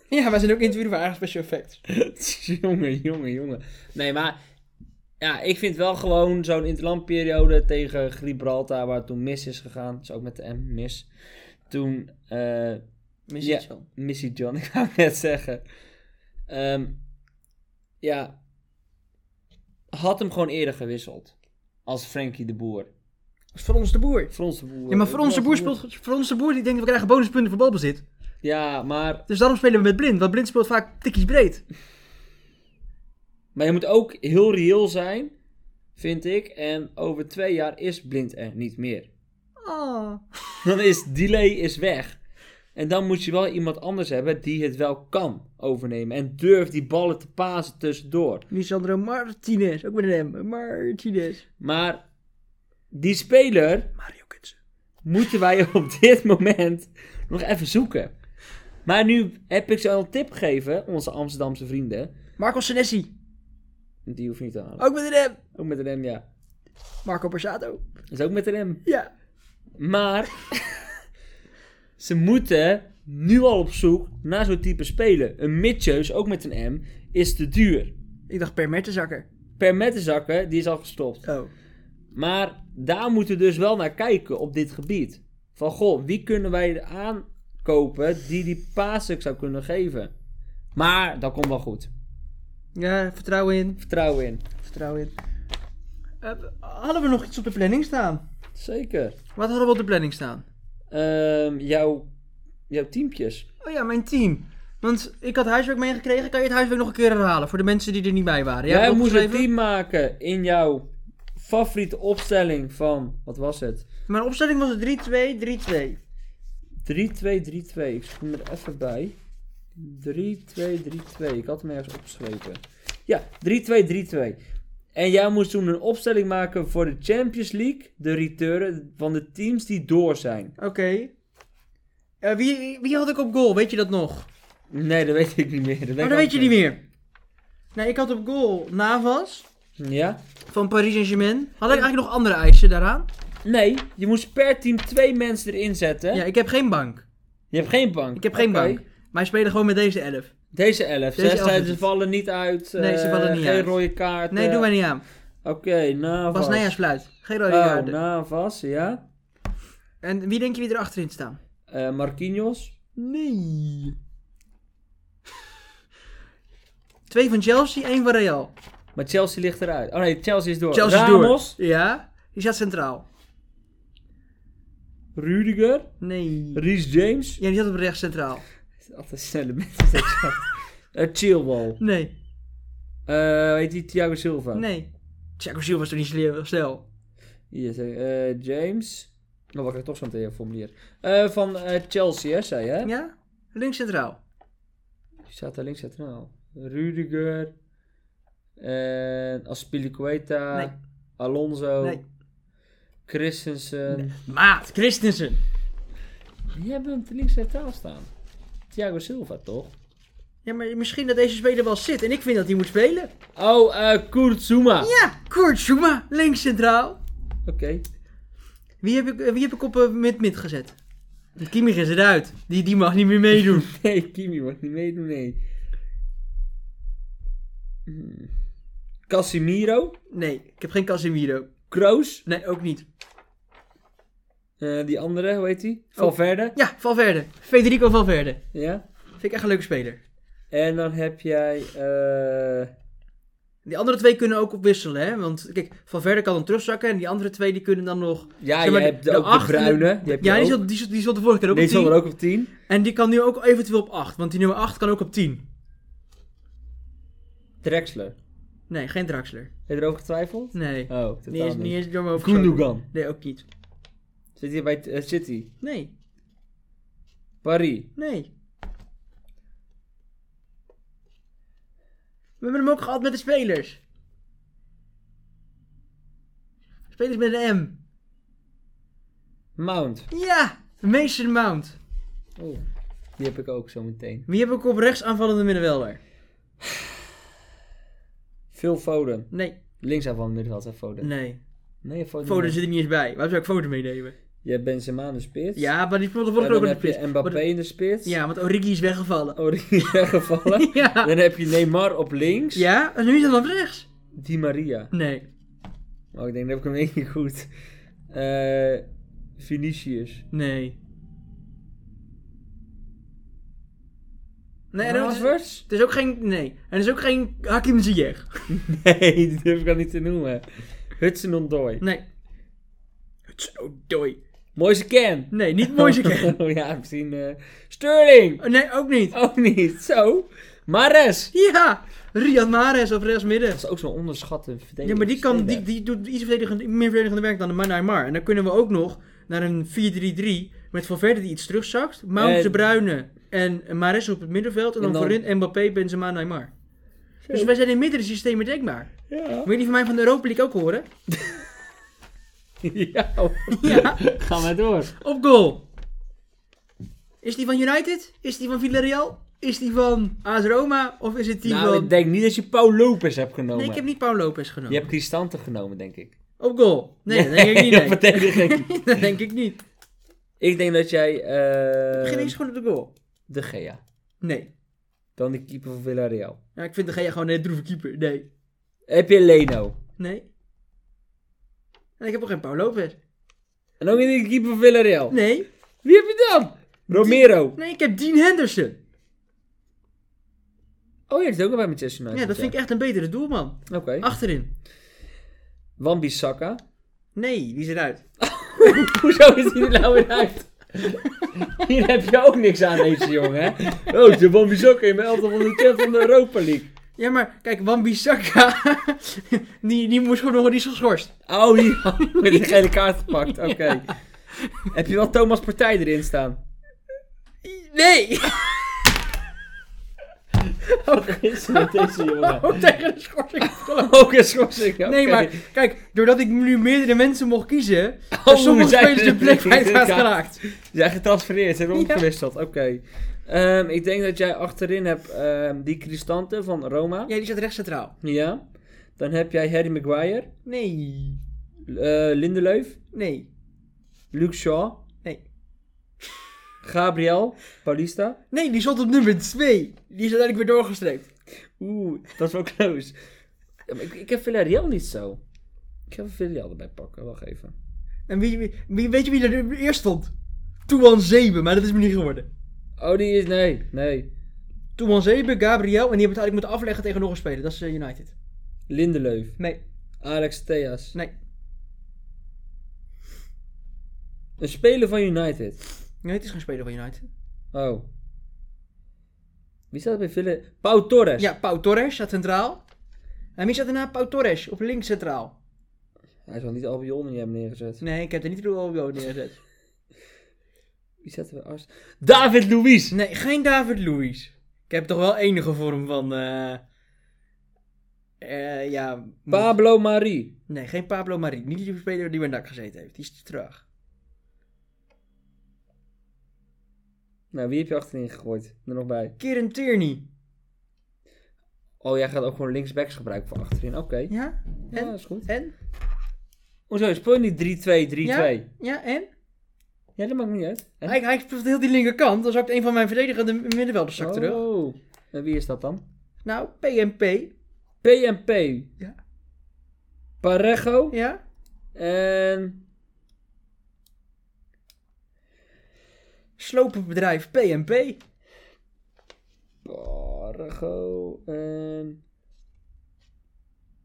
A: Ja, wij zijn ook interview voor Ajax Special Effects.
B: jongen, jongen, jongen. Nee, maar... Ja, ik vind wel gewoon zo'n interlandperiode tegen Gibraltar, waar het toen mis is gegaan. Dus ook met de M, mis. Toen... eh,
A: Mis
B: Ja.
A: iets van.
B: Missy John, ik wou net zeggen. Ehm, ja. Had hem gewoon eerder gewisseld. Als Frankie de Boer.
A: Voor ons de boer.
B: Frans de Boer.
A: Ja, maar voor ons de boer, speelt, voor ons de boer die denkt we krijgen bonuspunten voor balbezit.
B: Ja, maar,
A: Dus daarom spelen we met blind, want blind speelt vaak tikjes breed.
B: maar je moet ook heel reëel zijn, vind ik. En over twee jaar is Blind er niet meer.
A: Ah.
B: Dan is delay is weg. En dan moet je wel iemand anders hebben die het wel kan overnemen. En durft die ballen te pasen tussendoor.
A: Lisandro Martinez, ook met een M. Martinez.
B: Maar die speler
A: Mario Kutsen.
B: moeten wij op dit moment nog even zoeken. Maar nu heb ik ze al een tip gegeven, onze Amsterdamse vrienden.
A: Marco Senesi,
B: Die hoef je niet te halen.
A: ook met een M.
B: Ook met een M, ja.
A: Marco Borsato.
B: Dat is ook met een M.
A: Ja.
B: Maar ze moeten nu al op zoek naar zo'n type spelen. Een midjeus, ook met een M, is te duur.
A: Ik dacht Per Mertenzakker.
B: per mettenzakken, die is al gestopt.
A: Oh.
B: Maar daar moeten we dus wel naar kijken op dit gebied. Van goh, wie kunnen wij aankopen die die Pasek zou kunnen geven? Maar dat komt wel goed.
A: Ja, vertrouwen in.
B: Vertrouwen in.
A: Vertrouwen in. Eh, hadden we nog iets op de planning staan?
B: Zeker.
A: Wat hadden we op de planning staan?
B: Ehm, jouw, jouw teampjes.
A: Oh ja, mijn team. Want ik had huiswerk meegekregen. Kan je het huiswerk nog een keer herhalen voor de mensen die er niet bij waren?
B: Jij
A: hebt het
B: moest een
A: opgeschreven?
B: team maken in jouw favoriete opstelling van, wat was het?
A: Mijn opstelling was het 3-2, 3-2.
B: 3-2-3-2. Ik zoek hem er even bij. 3-2-3-2. Ik had hem ergens opgeschreven. Ja, 3-2-3-2. En jij moest toen een opstelling maken voor de Champions League. De returnen van de teams die door zijn.
A: Oké. Eh, wie, wie had ik op goal? Weet je dat nog?
B: Nee, dat weet ik niet meer. Dat weet,
A: Maar
B: ik
A: Oh, dat weet je niet
B: altijd
A: meer. Nee, ik had op goal Navas
B: Ja?
A: van Paris Saint-Germain. Had ik eigenlijk nog andere eisen daaraan?
B: Nee, je moest per team twee mensen erin zetten.
A: Ja, ik heb geen bank.
B: Je hebt geen bank.
A: Ik heb geen
B: Oké.
A: bank. Wij spelen gewoon met deze elf.
B: Deze 11.
A: Deze
B: Zes
A: elf
B: zijn-
A: is
B: ze
A: het.
B: vallen niet uit.
A: Nee, ze
B: eh,
A: vallen niet
B: geen
A: uit.
B: rode kaart.
A: Nee, doen wij niet aan.
B: Oké, Navas.
A: Bas Nijhuis fluit. Geen rode
B: Oh,
A: kaarten.
B: Navas, ja.
A: En wie denk je wie er achterin staan?
B: Eh, Marquinhos.
A: Nee. Twee van Chelsea, één van Real.
B: Maar Chelsea ligt eruit. Oh nee, Chelsea is door.
A: Chelsea is
B: Ramos.
A: door. Ja, die staat centraal.
B: Rudiger.
A: Nee.
B: Reece James.
A: Ja, die zat op rechts centraal.
B: Altijd snelle mensen. dat chat. Eh, Chilwell.
A: Nee,
B: Eh, Heet die Thiago Silva?
A: nee. Thiago Silva was toch niet sle- snel?
B: Hier, zei- eh, James. Oh, wacht, ik heb toch zo'n teleformulier. Eh van eh, Chelsea, hè, zei je? hè?
A: Ja, links centraal.
B: Die staat daar links centraal. Rudiger. En Aspilicueta.
A: Nee.
B: Alonso.
A: Nee.
B: Christensen.
A: Maat, Christensen.
B: Die hebben hem links centraal staan. Thiago Silva, toch?
A: Ja, maar misschien dat deze speler wel zit en ik vind dat hij moet spelen.
B: Oh, eh Kurt Zuma.
A: Ja, Kurt Zuma, links centraal.
B: Oké.
A: Wie heb ik, eh, wie heb ik op eh, mid-mid gezet? Kimmich is eruit. Die, die mag niet meer meedoen.
B: Nee, Kimi mag niet meedoen, nee. Hmm. Casimiro.
A: Nee, ik heb geen Casemiro.
B: Kroos.
A: Nee, ook niet.
B: eh, die andere, hoe heet
A: Oh.
B: die? Valverde.
A: Ja, Valverde. Federico Valverde.
B: Ja.
A: Vind ik echt een leuke speler.
B: En dan heb jij... eh,
A: Die andere twee kunnen ook op wisselen, hè? Want kijk, Valverde kan dan terugzakken en die andere twee die kunnen dan nog...
B: ja,
A: Zeg maar,
B: je hebt de, ook
A: acht-
B: de Bruine. Die heb je
A: ja, die
B: ook.
A: zat, die, zat, die zat de vorige keer ook
B: Nee,
A: op
B: die zat
A: 10.
B: er ook op 10.
A: En die kan nu ook eventueel op 8, want die nummer 8 kan ook op 10.
B: Drexler.
A: Nee, geen Draxler.
B: Heb je erover getwijfeld?
A: Nee.
B: Oh, totaal
A: niet eens,
B: niet.
A: niet eens door mijn hoofd gezogen.
B: Gundogan.
A: Nee, ook niet.
B: Zit hier bij eh, City.
A: Nee,
B: Paris.
A: nee. We hebben hem ook gehad met de spelers. Spelers met een M.
B: Mount.
A: Ja, Mason Mount.
B: Oh, die heb ik ook zo meteen.
A: Wie heb ik op rechts aanvallende middenvelder?
B: Phil Foden.
A: Nee,
B: Links aan van het middenveld, hè, Foden.
A: nee.
B: Nee, Foden.
A: Foden zit er niet eens bij. Waarom zou ik Foden meenemen?
B: Je hebt Benzema in de spits.
A: Ja, maar die speelde
B: En
A: vorige keer
B: dan
A: ook in de
B: heb je
A: spits.
B: Mbappé Oh, in de spits.
A: Ja, want Origi is weggevallen.
B: Origi weggevallen.
A: Ja.
B: Dan heb je Neymar op links.
A: Ja, en nu is hij dan op rechts.
B: Di Maria.
A: Nee,
B: Oh, ik denk dat heb ik hem één keer goed. Eh Vinicius.
A: nee. Nee, en het, is,
B: Havertz?
A: het is ook geen... Nee. En er is ook geen Hakim Ziyech.
B: Nee, die durf ik al niet te noemen. Hudson Ondoy.
A: Nee. Het is zo dooi.
B: Mooiste Ken.
A: Nee, niet Moise Kean.
B: ja, misschien eh, Sterling.
A: Nee, ook niet.
B: Ook niet. Zo. Mares.
A: Ja! Riyad Mahrez op rechts midden.
B: Dat is ook zo'n onderschatte verdediger.
A: Ja, maar die, kan, die, die doet iets verdedigend, meer verdedigende werk dan de Neymar. En dan kunnen we ook nog naar een 4-3-3 met Valverde die iets terugzakt. Mount
B: En-
A: de Bruyne en Mares op het middenveld. En dan,
B: En dan-
A: voorin Mbappé, Benzema, Neymar. Dus wij zijn in meerdere systemen denkbaar.
B: Ja.
A: Wil je die van mij van de Europa League ook horen?
B: ja.
A: Ja.
B: Ga maar door.
A: Op goal. Is die van United? Is die van Villarreal? Is die van AS Roma? Of is het die
B: nou,
A: van...
B: ik denk niet dat je Paul Lopez hebt genomen.
A: Nee, ik heb niet Paul Lopez genomen.
B: Je hebt Cristante genomen, denk ik.
A: Op goal. Nee, dat denk ik niet. nee.
B: dat verdedigt denk ik.
A: dat denk ik niet.
B: Ik denk dat jij... eh,
A: Begin eens gewoon op de goal.
B: de Gea.
A: Nee.
B: Dan de keeper van Villarreal.
A: Ja, ik vind de Gea gewoon een hele droeve keeper. Nee.
B: Heb je Leno?
A: Nee. En ik heb ook geen Paul Lopez.
B: En ook niet de keeper van Villarreal.
A: Nee.
B: Wie heb je dan? Romero.
A: Nee, ik heb Dean Henderson.
B: Oh, je zit ook al bij Manchester United.
A: Ja, dat vind ik echt een betere doelman.
B: Oké.
A: Achterin.
B: Wan-Bissaka.
A: Nee, die is eruit.
B: Hoezo is die er nou weer uit? Hier heb je ook niks aan deze jongen, hè? Oh, de Wan-Bissaka in mijn elftal van de champ van de Europa League.
A: Ja, maar kijk, Wan-Bissaka, die, die moest gewoon nog niet geschorst.
B: Oh, die had met die gele kaart gepakt. Oké. Heb je wel Thomas Partij erin staan?
A: Nee,
B: Wat is er met deze jongen?
A: ook tegen de schorsing.
B: Ook een schorsing. oké.
A: Nee, maar kijk, doordat ik nu meerdere mensen mocht kiezen,
B: Oh,
A: zijn sommige
B: zijn
A: spelers
B: er-
A: de plek kwijt
B: Ja.
A: geraakt.
B: Ze zijn getransfereerd, ze hebben
A: Ja.
B: omgewisseld. Oké. Ehm, ik denk dat jij achterin hebt ehm, die Cristante van Roma.
A: Ja, die zat recht centraal.
B: Ja. Dan heb jij Harry Maguire,
A: Nee,
B: eh Lindeleuf,
A: nee,
B: Luke Shaw,
A: nee.
B: Gabriel, Paulista.
A: Nee, die zat op nummer 2. Die is uiteindelijk weer doorgestreept.
B: Oeh, dat is wel close. Ja, maar ik, ik heb Villarreal niet zo. Ik ga even Villarreal erbij pakken, wacht even.
A: En wie, wie- wie- weet je wie er eerst stond? Toewan Zebe, maar dat is me niet geworden.
B: Oh, die is... Nee, nee.
A: Toewan Zebe, Gabriel, en die hebben het eigenlijk moeten afleggen tegen nog een speler. Dat is eh, United.
B: Lindeleuf,
A: Nee,
B: Alex Theas.
A: nee.
B: Een speler van United.
A: Nee, het is geen speler van United.
B: Oh. Wie staat er bij Villarreal? Pau Torres.
A: Ja, Pau Torres staat centraal. En wie staat daarna? Pau Torres op links centraal.
B: Hij zal niet Albion in je hebben neergezet.
A: Nee, ik heb er niet de Albion neergezet.
B: Wie zetten we als... David Luiz!
A: Nee, geen David Luiz. Ik heb toch wel enige vorm van... eh eh, ja... moet-
B: Pablo Marie.
A: Nee, geen Pablo Marie. Niet die speler die bij NAC gezeten heeft. Die is te traag.
B: Nou, wie heb je achterin gegooid? Er nog bij.
A: Kieran Tierney.
B: Oh, jij gaat ook gewoon linksbacks gebruiken voor achterin. Oké.
A: Ja?
B: Ja,
A: En?
B: dat is goed.
A: En?
B: Hoezo, speel je niet 3-2, 3-2?
A: Ja?
B: Ja?
A: Ja, en?
B: dat maakt niet uit. En-
A: Hij, hij speelt heel die linkerkant. Dan zakt een van mijn verdedigende middenvelders zakt terug.
B: Oh. En wie is dat dan?
A: Nou, PMP.
B: PNP.
A: Ja.
B: Parejo.
A: Ja?
B: En...
A: Slopenbedrijf PMP.
B: Parejo. En...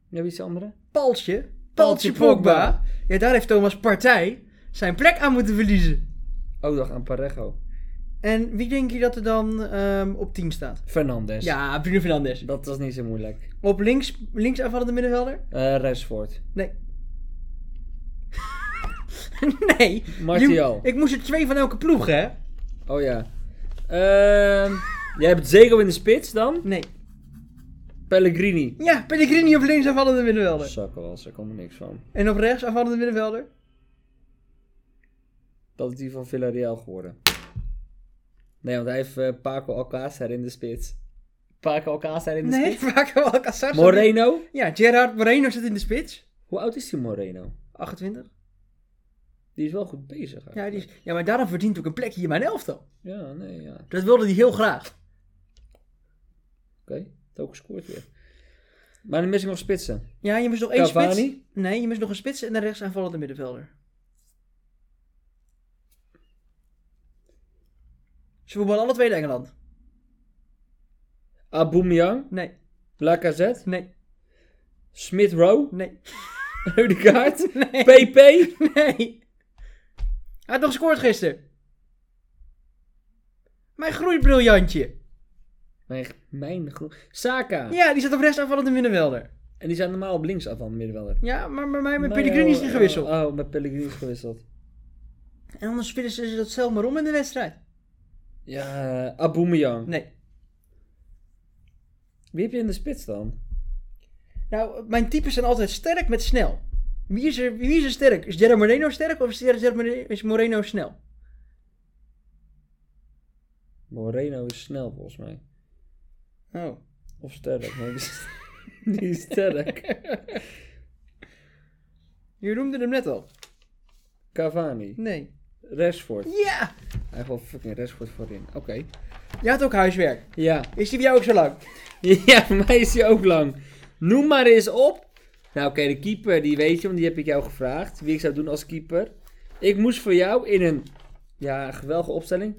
B: Ja, wie is de andere?
A: Paltje.
B: Paltje
A: Paltje
B: Pogba.
A: Pogba. Ja, daar heeft Thomas Partij zijn plek aan moeten verliezen.
B: Oh, dacht aan Parejo.
A: En wie denk je dat er dan ehm, op 10 staat?
B: Fernandes.
A: Ja, Bruno Fernandes.
B: Dat was niet zo moeilijk.
A: Op links, links aanvallende middenvelder?
B: Eh Rashford.
A: Nee. nee.
B: Martial.
A: Je- ik moest er twee van elke ploeg, hè?
B: Oh ja. Ehm, jij hebt Zego in de spits dan?
A: Nee.
B: Pellegrini.
A: Ja, Pellegrini op links aanvallende middenvelder.
B: Zakken was, daar kwam er niks van.
A: En op rechts aanvallende middenvelder?
B: Dat is die van Villarreal geworden. Nee, want hij heeft eh, Paco Alcácer in de spits. Paco Alcácer in de
A: Nee,
B: spits?
A: vaak wel Alcazar.
B: Moreno?
A: Ja, Gerard Moreno zit in de spits.
B: Hoe oud is die Moreno?
A: 28.
B: Die is wel goed bezig
A: Ja, die
B: eigenlijk.
A: is- ja, maar daarom verdient ook een plekje in mijn elftal.
B: Ja, nee, ja. Oké,
A: Dat wilde hij heel graag.
B: heeft ook gescoord weer. Maar dan mis ik nog spitsen.
A: Ja, je moest nog één
B: Cavani?
A: spits. Nee, je moest nog een spits en een rechts aanvallende middenvelder. Ze voetballen alle twee in Engeland.
B: Aubameyang,
A: Nee,
B: Lacazette,
A: nee,
B: Smith Rowe,
A: nee,
B: Eudegaard,
A: Nee.
B: PP.
A: nee. Hij had nog gescoord gisteren. Mijn groeibriljantje.
B: Mijn, mijn groep. Saka.
A: Ja, die zat op rechts aanvallende middenvelder.
B: En die zijn normaal op links af van middenvelder.
A: Ja, maar eh, bij mij met Pellegrini is die gewisseld.
B: Oh, met Pellegrini is gewisseld.
A: eh, En anders spelen ze dat zelf maar om in de wedstrijd.
B: Ja, eh, Aubameyang.
A: Nee.
B: Wie heb je in de spits dan?
A: Nou, mijn types zijn altijd sterk met snel. Wie is er, wie is er sterk? Is Gerard Moreno sterk of is, Gerard Moreno, is Moreno snel?
B: Moreno is snel volgens mij.
A: Oh.
B: Of sterk. Nee, die is, die is sterk.
A: Je noemde hem net al.
B: Cavani.
A: Nee.
B: Rashford.
A: Ja!
B: Hij heeft wel fucking Rashford voorin. Oké.
A: Je had ook huiswerk.
B: Ja.
A: Is die bij jou ook zo lang?
B: Ja, voor mij is hij ook lang. Noem maar eens op. Nou, oké, de keeper, die weet je, want die heb ik jou gevraagd. Wie ik zou doen als keeper. Ik moest voor jou in een ja, geweldige opstelling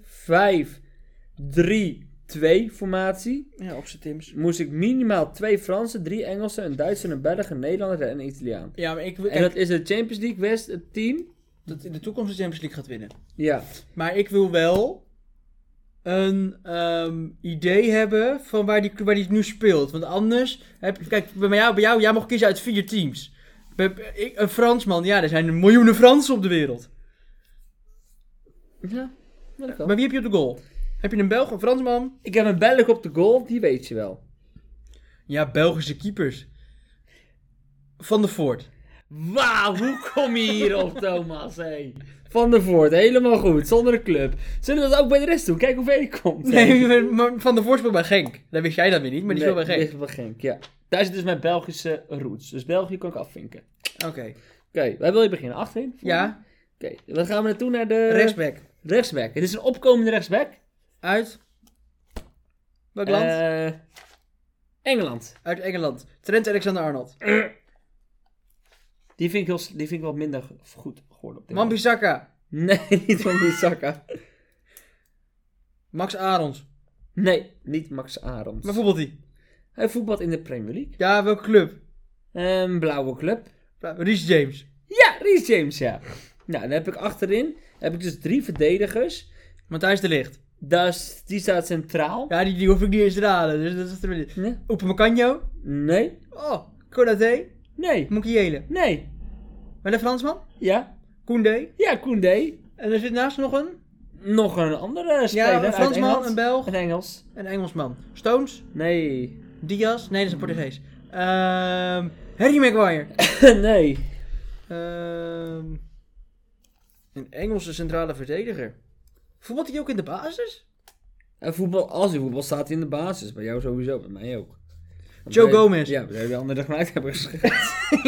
B: 5-3-2 formatie.
A: Ja, op zijn Tims.
B: Moest ik minimaal twee Fransen, drie Engelsen, een Duitser, een Belg, een Nederlander en een Italiaan.
A: Ja, maar ik wil
B: En dat is de Champions League West, het team.
A: dat in de toekomst de Champions League gaat winnen.
B: Ja,
A: Maar ik wil wel een ehm, idee hebben van waar die, waar die nu speelt. Want anders, heb, kijk, bij jou, bij jou, jij mag kiezen uit vier teams. Bij- bij- ik- een Fransman, ja, er zijn miljoenen Fransen op de wereld.
B: Ja, dat kan.
A: Maar wie heb je op de goal? Heb je een Belg, een Fransman?
B: Ik heb een Belg op de goal, die weet je wel.
A: Ja, Belgische keepers. Van de Voort.
B: Wauw, hoe kom je hierop, Thomas? Hey. Van der Voort, helemaal goed, zonder een club. Zullen we dat ook bij de rest doen? Kijk hoe ver je komt.
A: Nee, maar Van de Voort speelt bij Genk. Dat wist jij dan weer niet, maar die
B: Nee,
A: speelt bij
B: die
A: Genk.
B: is wel Genk, ja. Daar zit dus mijn Belgische roots. Dus België kan ik afvinken. Oké,
A: Oké.
B: waar wil je beginnen? Achterin?
A: Ja,
B: Oké, dan gaan we naartoe naar de...
A: rechtsback.
B: Rechtsback. Het is een opkomende rechtsback.
A: Uit? Welk land?
B: Eh, Engeland.
A: Uit Engeland. Trent Alexander-Arnold.
B: Die vind, ik heel, s- die vind ik wat minder g- goed geworden op dit moment.
A: Wan-Bissaka.
B: Nee, niet van Bissaka.
A: Max Arons.
B: Nee, niet Max Arons.
A: Bijvoorbeeld die.
B: Hij voetbalt in de Premier League.
A: Ja, welke club?
B: Een blauwe club.
A: Rich James.
B: Ja, Reece James, ja. Nou, dan heb ik achterin heb ik dus drie verdedigers.
A: Matthijs de Ligt.
B: Daar is- die staat centraal.
A: Ja, die, die hoef ik niet eens te raden. Dus dat is er weer.
B: Nee.
A: Upamacanjo.
B: Nee.
A: Oh, Konaté.
B: Nee.
A: Mokiele.
B: Nee.
A: Maar een Fransman?
B: Ja.
A: Koundé.
B: Ja, Koundé.
A: En er zit naast nog een?
B: Nog een andere speler
A: Ja, een
B: uit
A: Fransman,
B: Engeland.
A: een Belg.
B: Een Engels.
A: Een Engelsman. Stones.
B: Nee.
A: Diaz. Nee, dat is een Portugees. Ehm Harry Maguire.
B: nee.
A: Ehm een Engelse centrale verdediger. Voetbalt hij ook in de basis?
B: En voetbal, als hij voetbal staat hij in de basis. Bij jou sowieso, bij mij ook. Want
A: Joe
B: wij-
A: Gomez.
B: Ja, we hebben de andere dag uit hebben geschreven.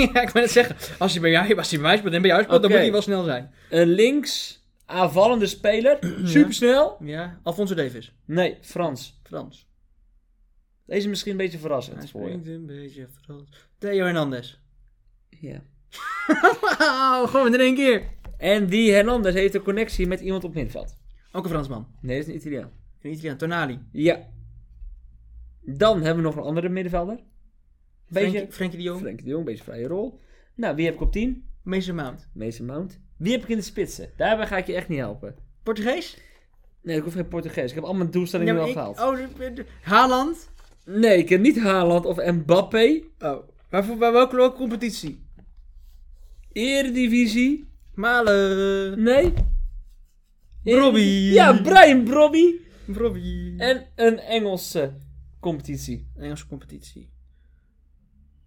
A: ja, ik wil het zeggen. Als hij bij, jou, als hij bij mij speelt en bij jou speelt, dan
B: Oké.
A: moet hij wel snel zijn.
B: Een links aanvallende speler. Supersnel.
A: Ja. Alfonso Davis.
B: Nee, Frans.
A: Frans.
B: Deze is misschien een beetje
A: Hij
B: verrassend voor je.
A: springt een beetje Frans. Theo Hernandez.
B: Ja.
A: Wauw, gewoon in één keer.
B: En die Hernandez heeft een connectie met iemand op middenveld.
A: Ook een Fransman.
B: Nee, dat is een Italiaan.
A: Een Italiaan, Tonali.
B: Ja. Dan hebben we nog een andere middenvelder. Beetje
A: Frenkie, Frenkie de Jong.
B: Frenkie de Jong, beetje vrije rol. Nou, wie heb ik op 10?
A: Mason Mount.
B: Mason Mount. Wie heb ik in de spitsen? Daarbij ga ik je echt niet helpen.
A: Portugees?
B: Nee, ik hoef geen Portugees. Ik heb al mijn doelstellingen
A: maar
B: al
A: ik-
B: gehaald.
A: oh, de- de- Haaland.
B: Nee, ik heb niet Haaland of Mbappé.
A: Oh, maar voor, bij welke, welke competitie?
B: Eredivisie.
A: Malen.
B: Nee.
A: Brobby.
B: Ja, Brian Brobby.
A: Robbie.
B: En een Engelse competitie.
A: Engelse competitie.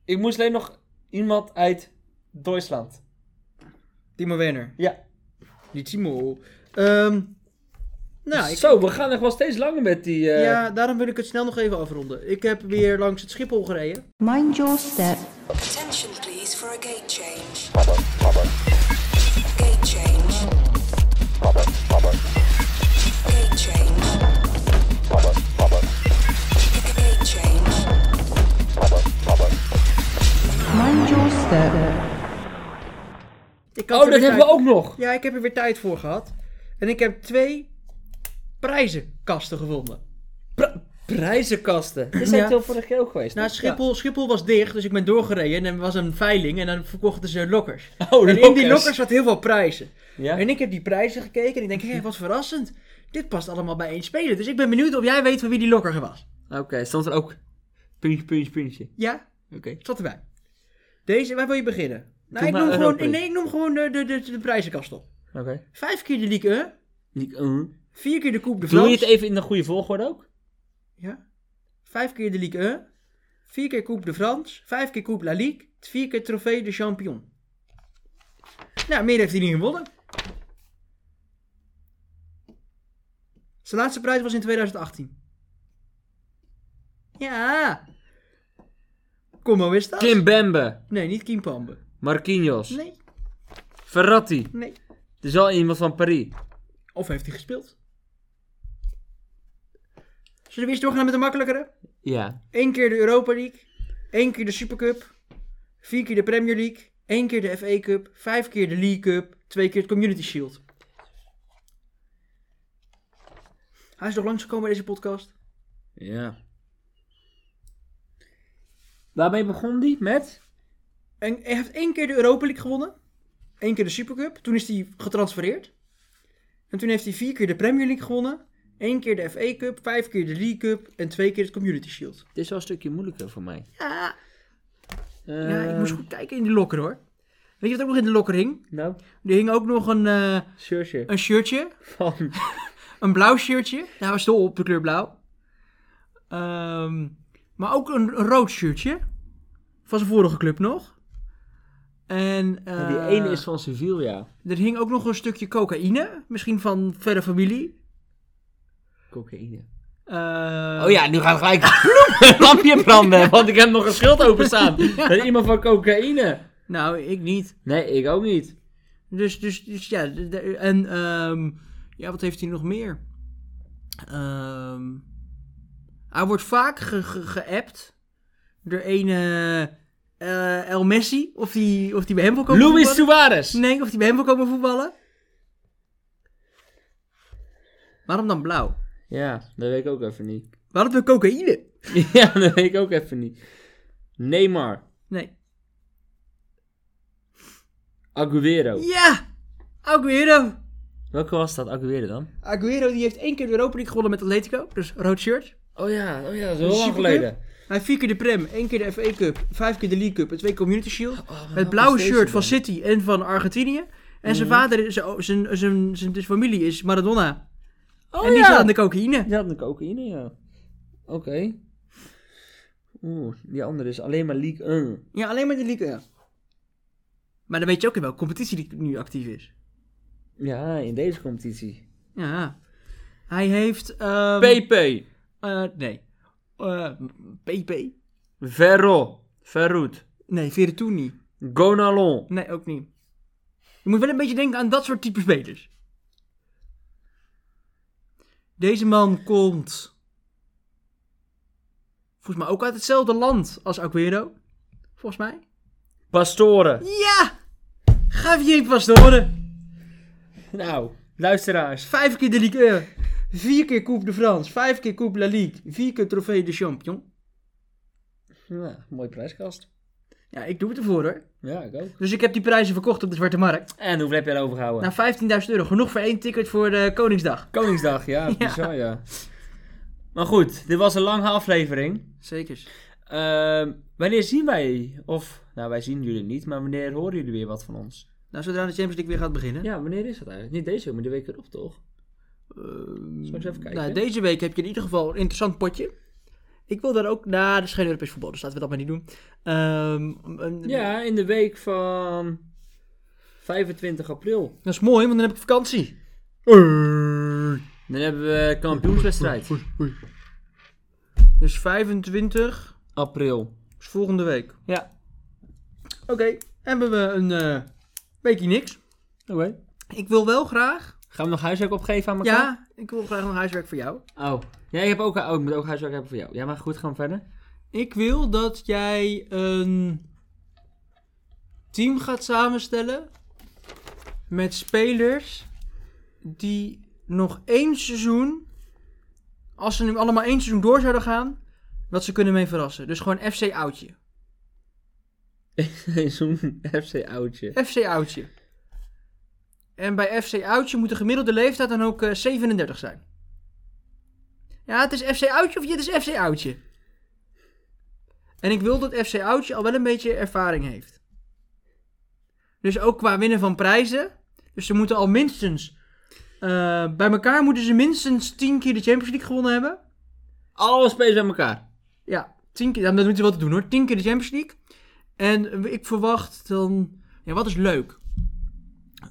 B: Ik moest alleen nog iemand uit Duitsland.
A: Timo Werner.
B: Ja.
A: Die Timo. Ehm, nou, ik,
B: Zo, we gaan nog wel steeds langer met die... eh,
A: ja, daarom wil ik het snel nog even afronden. Ik heb weer langs het Schiphol gereden.
D: Mind your step.
F: Attention please for a gate change. Gate change. Gate change. Gate change.
D: Mind your step.
A: Ik had
B: Oh,
A: er weer
B: dat hebben we
A: tijd-
B: ook nog.
A: Ja, ik heb er weer tijd voor gehad. En ik heb twee prijzenkasten gevonden.
B: Pri- prijzenkasten. Dit zijn
A: Ja.
B: veel vorige keer ook geweest.
A: Nou,
B: toch?
A: Schiphol, Schiphol was dicht, dus ik ben doorgereden en er was een veiling en dan verkochten ze lokkers.
B: Oh,
A: en in
B: lokkers.
A: die lokkers zat heel veel prijzen.
B: Ja.
A: En ik heb die prijzen gekeken en ik denk, hé, wat verrassend. Dit past allemaal bij één speler. Dus ik ben benieuwd of jij weet van wie die lokker was.
B: Oké, stond er ook... Puntje, puntje, puntje.
A: Ja,
B: Oké.
A: zat erbij. Deze, waar wil je beginnen? Nou, ik
B: maar
A: noem,
B: een
A: gewoon,
B: lokker.
A: nee, ik noem gewoon de, de, de, de prijzenkast op.
B: Oké.
A: Vijf keer de Ligue 1,
B: Die- eh.
A: vier keer de Coupe de
B: Doe
A: France.
B: je het even in de goede volgorde ook?
A: Ja. Vijf keer de Ligue 1. Vier keer Coupe de France. Vijf keer Coupe La Ligue. Vier keer Trofee de Champion. Nou, meer heeft hij niet gewonnen. Zijn laatste prijs was in 2018. Ja. Como is dat?
B: Kim Bembe.
A: Nee, niet Kim Pambe.
B: Marquinhos.
A: Nee,
B: Ferrati.
A: nee.
B: Het is wel iemand van Paris.
A: Of heeft hij gespeeld? Zullen we eerst doorgaan met de makkelijkere?
B: Ja.
A: Eén keer de Europa League. één keer de Supercup, vier keer de Premier League, één keer de FA Cup, vijf keer de League Cup, twee keer het Community Shield. Hij is nog langsgekomen bij deze podcast.
B: Ja. Waarmee begon die? Met?
A: En hij heeft één keer de Europa League gewonnen. Eén keer de Supercup. Toen is hij getransfereerd. En toen heeft hij vier keer de Premier League gewonnen. Één keer de FA Cup, vijf keer de League Cup en twee keer het Community Shield.
B: Dit is wel een stukje moeilijker voor mij.
A: Ja,
B: Eh,
A: ja ik moest goed kijken in die lokker hoor. Weet je wat ook nog in de lokker hing?
B: Nou,
A: Er hing ook nog een, eh,
B: shirtje.
A: een shirtje.
B: Van.
A: Een blauw shirtje. Daar was dol op de kleur blauw. Ehm, maar ook een, een rood shirtje. Van zijn vorige club nog. En,
B: Die
A: eh,
B: ene is van Sevilla.
A: Er hing ook nog een stukje cocaïne, misschien van verre familie.
B: Cocaïne.
A: Eh,
B: Oh ja, nu gaat gelijk een lampje branden, want ik heb nog een schild openstaan. Met iemand van cocaïne.
A: Nou, ik niet.
B: Nee, ik ook niet.
A: Dus, dus, dus ja, de- de- en ehm, ja, wat heeft hij nog meer? Ehm, hij wordt vaak ge- ge- geappt door een eh, eh, El Messi, of die, of die bij hem wil komen
B: Luis
A: voetballen.
B: Suarez.
A: Nee, of die bij hem wil komen voetballen. Waarom dan blauw?
B: Ja, dat weet ik ook even niet.
A: Waarom dan cocaïne?
B: ja, dat weet ik ook even niet. Neymar.
A: Nee.
B: Aguero.
A: Ja! Aguero!
B: Welke was dat, Aguero dan?
A: Aguero die heeft één keer de Europa League gewonnen met Atletico, dus rood shirt.
B: Oh ja, oh ja, dat is
A: De
B: heel lang
A: Supercup.
B: geleden.
A: Hij heeft vier keer de Prem, één keer de FA Cup, vijf keer de League Cup en twee Community Shield. het blauwe
B: is deze
A: shirt van
B: dan?
A: City en van Argentinië. En zijn vader, is- zijn, zijn, zijn, zijn familie is Maradona.
B: Oh
A: en die staat aan de cocaïne.
B: Die had een cocaïne, ja. Oké. Oeh, die andere is alleen maar League 1.
A: Ja, alleen maar de League. Ja. Maar dan weet je ook in welke competitie die nu actief is.
B: Ja, in deze competitie.
A: Ja. Hij heeft... ehm,
B: PP.
A: eh, nee. Eh, PP?
B: Ferro. Ferroet.
A: Nee, Veretuni.
B: Gonalon.
A: Nee, ook niet. Je moet wel een beetje denken aan dat soort type spelers. Deze man komt. Volgens mij ook uit hetzelfde land als Aguero. Volgens mij.
B: Pastoren.
A: Ja! Javier Pastore.
B: Nou, luisteraars.
A: Vijf keer de Ligue 1. Vier keer Coupe de France. Vijf keer Coupe La Ligue. Vier keer Trofee de Champion.
B: Ja, mooie prijskast.
A: Ja, ik doe het ervoor hoor.
B: Ja, ik ook.
A: Dus ik heb die prijzen verkocht op de Zwarte Markt.
B: En hoeveel heb je erover gehouden?
A: Na 15.000 euro. Genoeg voor één ticket voor de Koningsdag.
B: Koningsdag, ja, bizar, ja. Maar goed, dit was een lange aflevering.
A: Zeker.
B: Ehm, wanneer zien wij, of, nou wij zien jullie niet, maar wanneer horen jullie weer wat van ons?
A: Nou, zodra de Champions League weer gaat beginnen.
B: Ja, wanneer is dat eigenlijk? Niet deze week, maar de week erop toch? Zal ik eens even kijken?
A: Nou, deze week heb je in ieder geval een interessant potje. Ik wil daar ook... Nou, dat is geen Europees voetbal, dus laten we dat maar niet doen. Ehm, een-
B: Ja, in de week van 25 april.
A: Dat is mooi, want dan heb ik vakantie.
B: Dan hebben we kampioenswedstrijd.
A: Dus 25
B: April.
A: is volgende week.
B: Ja.
A: Oké, hebben we een eh, weekje niks.
B: Oké.
A: Ik wil wel graag...
B: Gaan we nog huiswerk opgeven aan elkaar?
A: Ja, ik wil graag nog huiswerk voor jou.
B: Oh. Ja, ik, heb ook, oh, ik moet ook huiswerk hebben voor jou. Ja, maar goed, gaan we verder.
A: Ik wil dat jij een team gaat samenstellen met spelers die nog één seizoen, als ze nu allemaal één seizoen door zouden gaan, dat ze kunnen mee verrassen. Dus gewoon FC oudje.
B: Zo'n FC-oudje.
A: FC oudje. En bij FC oudje moet de gemiddelde leeftijd dan ook eh, 37 zijn. Ja, het is FC oudje of het is FC oudje. En ik wil dat FC oudje al wel een beetje ervaring heeft. Dus ook qua winnen van prijzen. Dus ze moeten al minstens. eh, bij elkaar moeten ze minstens 10 keer de Champions League gewonnen hebben.
B: Alle spelers bij elkaar.
A: Ja, tien keer. Dan moeten we wel te doen hoor. Tien keer de Champions League. En ik verwacht dan... Ja, wat is leuk?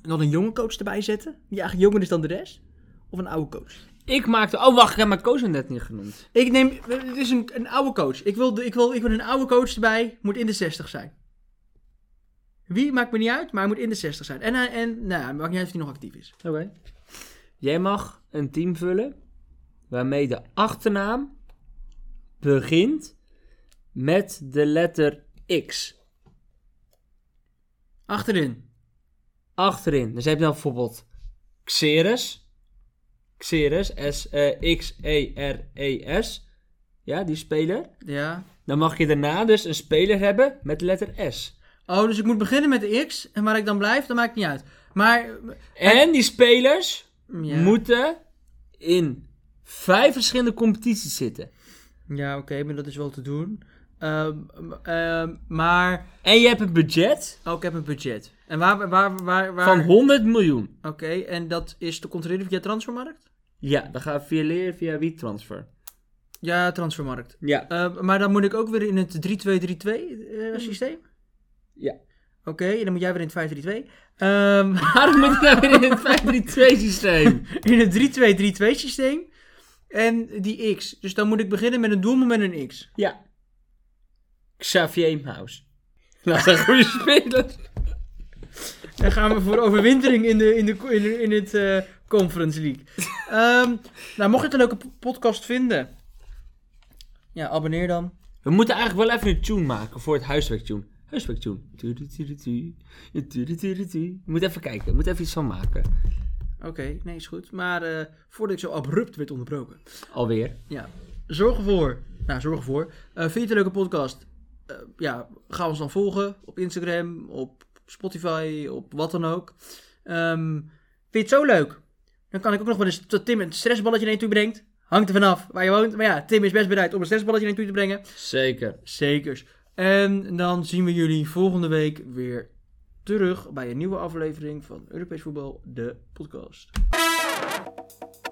A: Dan een jonge coach erbij zetten. Die eigenlijk jonger is dan de rest. Of een oude coach.
B: Ik maakte... Oh, wacht, ik heb mijn coach net niet genoemd.
A: Ik neem... Het is een, een oude coach. Ik wil, de- ik, wil, ik wil een oude coach erbij. Moet in de 60 zijn. Wie, maakt me niet uit. Maar hij moet in de 60 zijn. En, hij- en nou ja, maakt niet uit of hij nog actief is.
B: Oké. Jij mag een team vullen waarmee de achternaam begint met de letter X.
A: Achterin.
B: Achterin. Dus heb je dan bijvoorbeeld Xeres. Xeres, E S-X-E-R-E-S. E ja, die speler.
A: Ja.
B: Dan mag je daarna dus een speler hebben met de letter S.
A: Oh, dus ik moet beginnen met de X. En waar ik dan blijf, dat maakt niet uit. Maar...
B: En die spelers
A: Ja,
B: moeten in vijf verschillende competities zitten.
A: ja oké, maar dat is wel te doen. Ehm, ehm, maar...
B: En je hebt een budget
A: Oh, ik heb een budget. En waar... waar, waar, waar...
B: van 100 miljoen.
A: Oké, en dat is te controleren via transfermarkt?
B: Ja, dan gaan we via leren via wie transfer.
A: Ja, transfermarkt.
B: Ja.
A: Eh, maar dan moet ik ook weer in het 3-2-3-2 eh, systeem?
B: Hmm. Ja.
A: Oké, en dan moet jij weer in het 5-3-2. Ehm,
B: Waarom moet ik nou weer in het 532 systeem?
A: in het 3-2-3-2 systeem. En die X. Dus dan moet ik beginnen met een doelman met een X.
B: Ja. Xavier Eemhuis. Dat is een goede speler.
A: Dan gaan we voor overwintering in, de, in, de, in, de- in het eh, Conference League. Ehm, nou, mocht je het een leuke po- podcast vinden, ja, abonneer dan.
B: We moeten eigenlijk wel even een tune maken voor het huiswerktune. Huiswerktune. Tudu-tudu-tu. Tudu-tudu-tu. We moeten even kijken. We moeten even iets van maken.
A: Oké, nee, is goed. Maar eh, voordat ik zo abrupt werd onderbroken.
B: Alweer.
A: Ja. Zorg ervoor. Nou, zorg ervoor. Eh, vind je het een leuke podcast? Eh, ja, ga ons dan volgen op Instagram, op Spotify, op wat dan ook. Ehm, vind je het zo leuk? Dan kan ik ook nog wel eens tot Tim een stressballetje naar je toe brengt. Hangt er vanaf waar je woont. Maar ja, Tim is best bereid om een stressballetje naar je toe te brengen.
B: Zeker.
A: Zekers. En dan zien we jullie volgende week weer terug bij een nieuwe aflevering van Europees Voetbal, de podcast.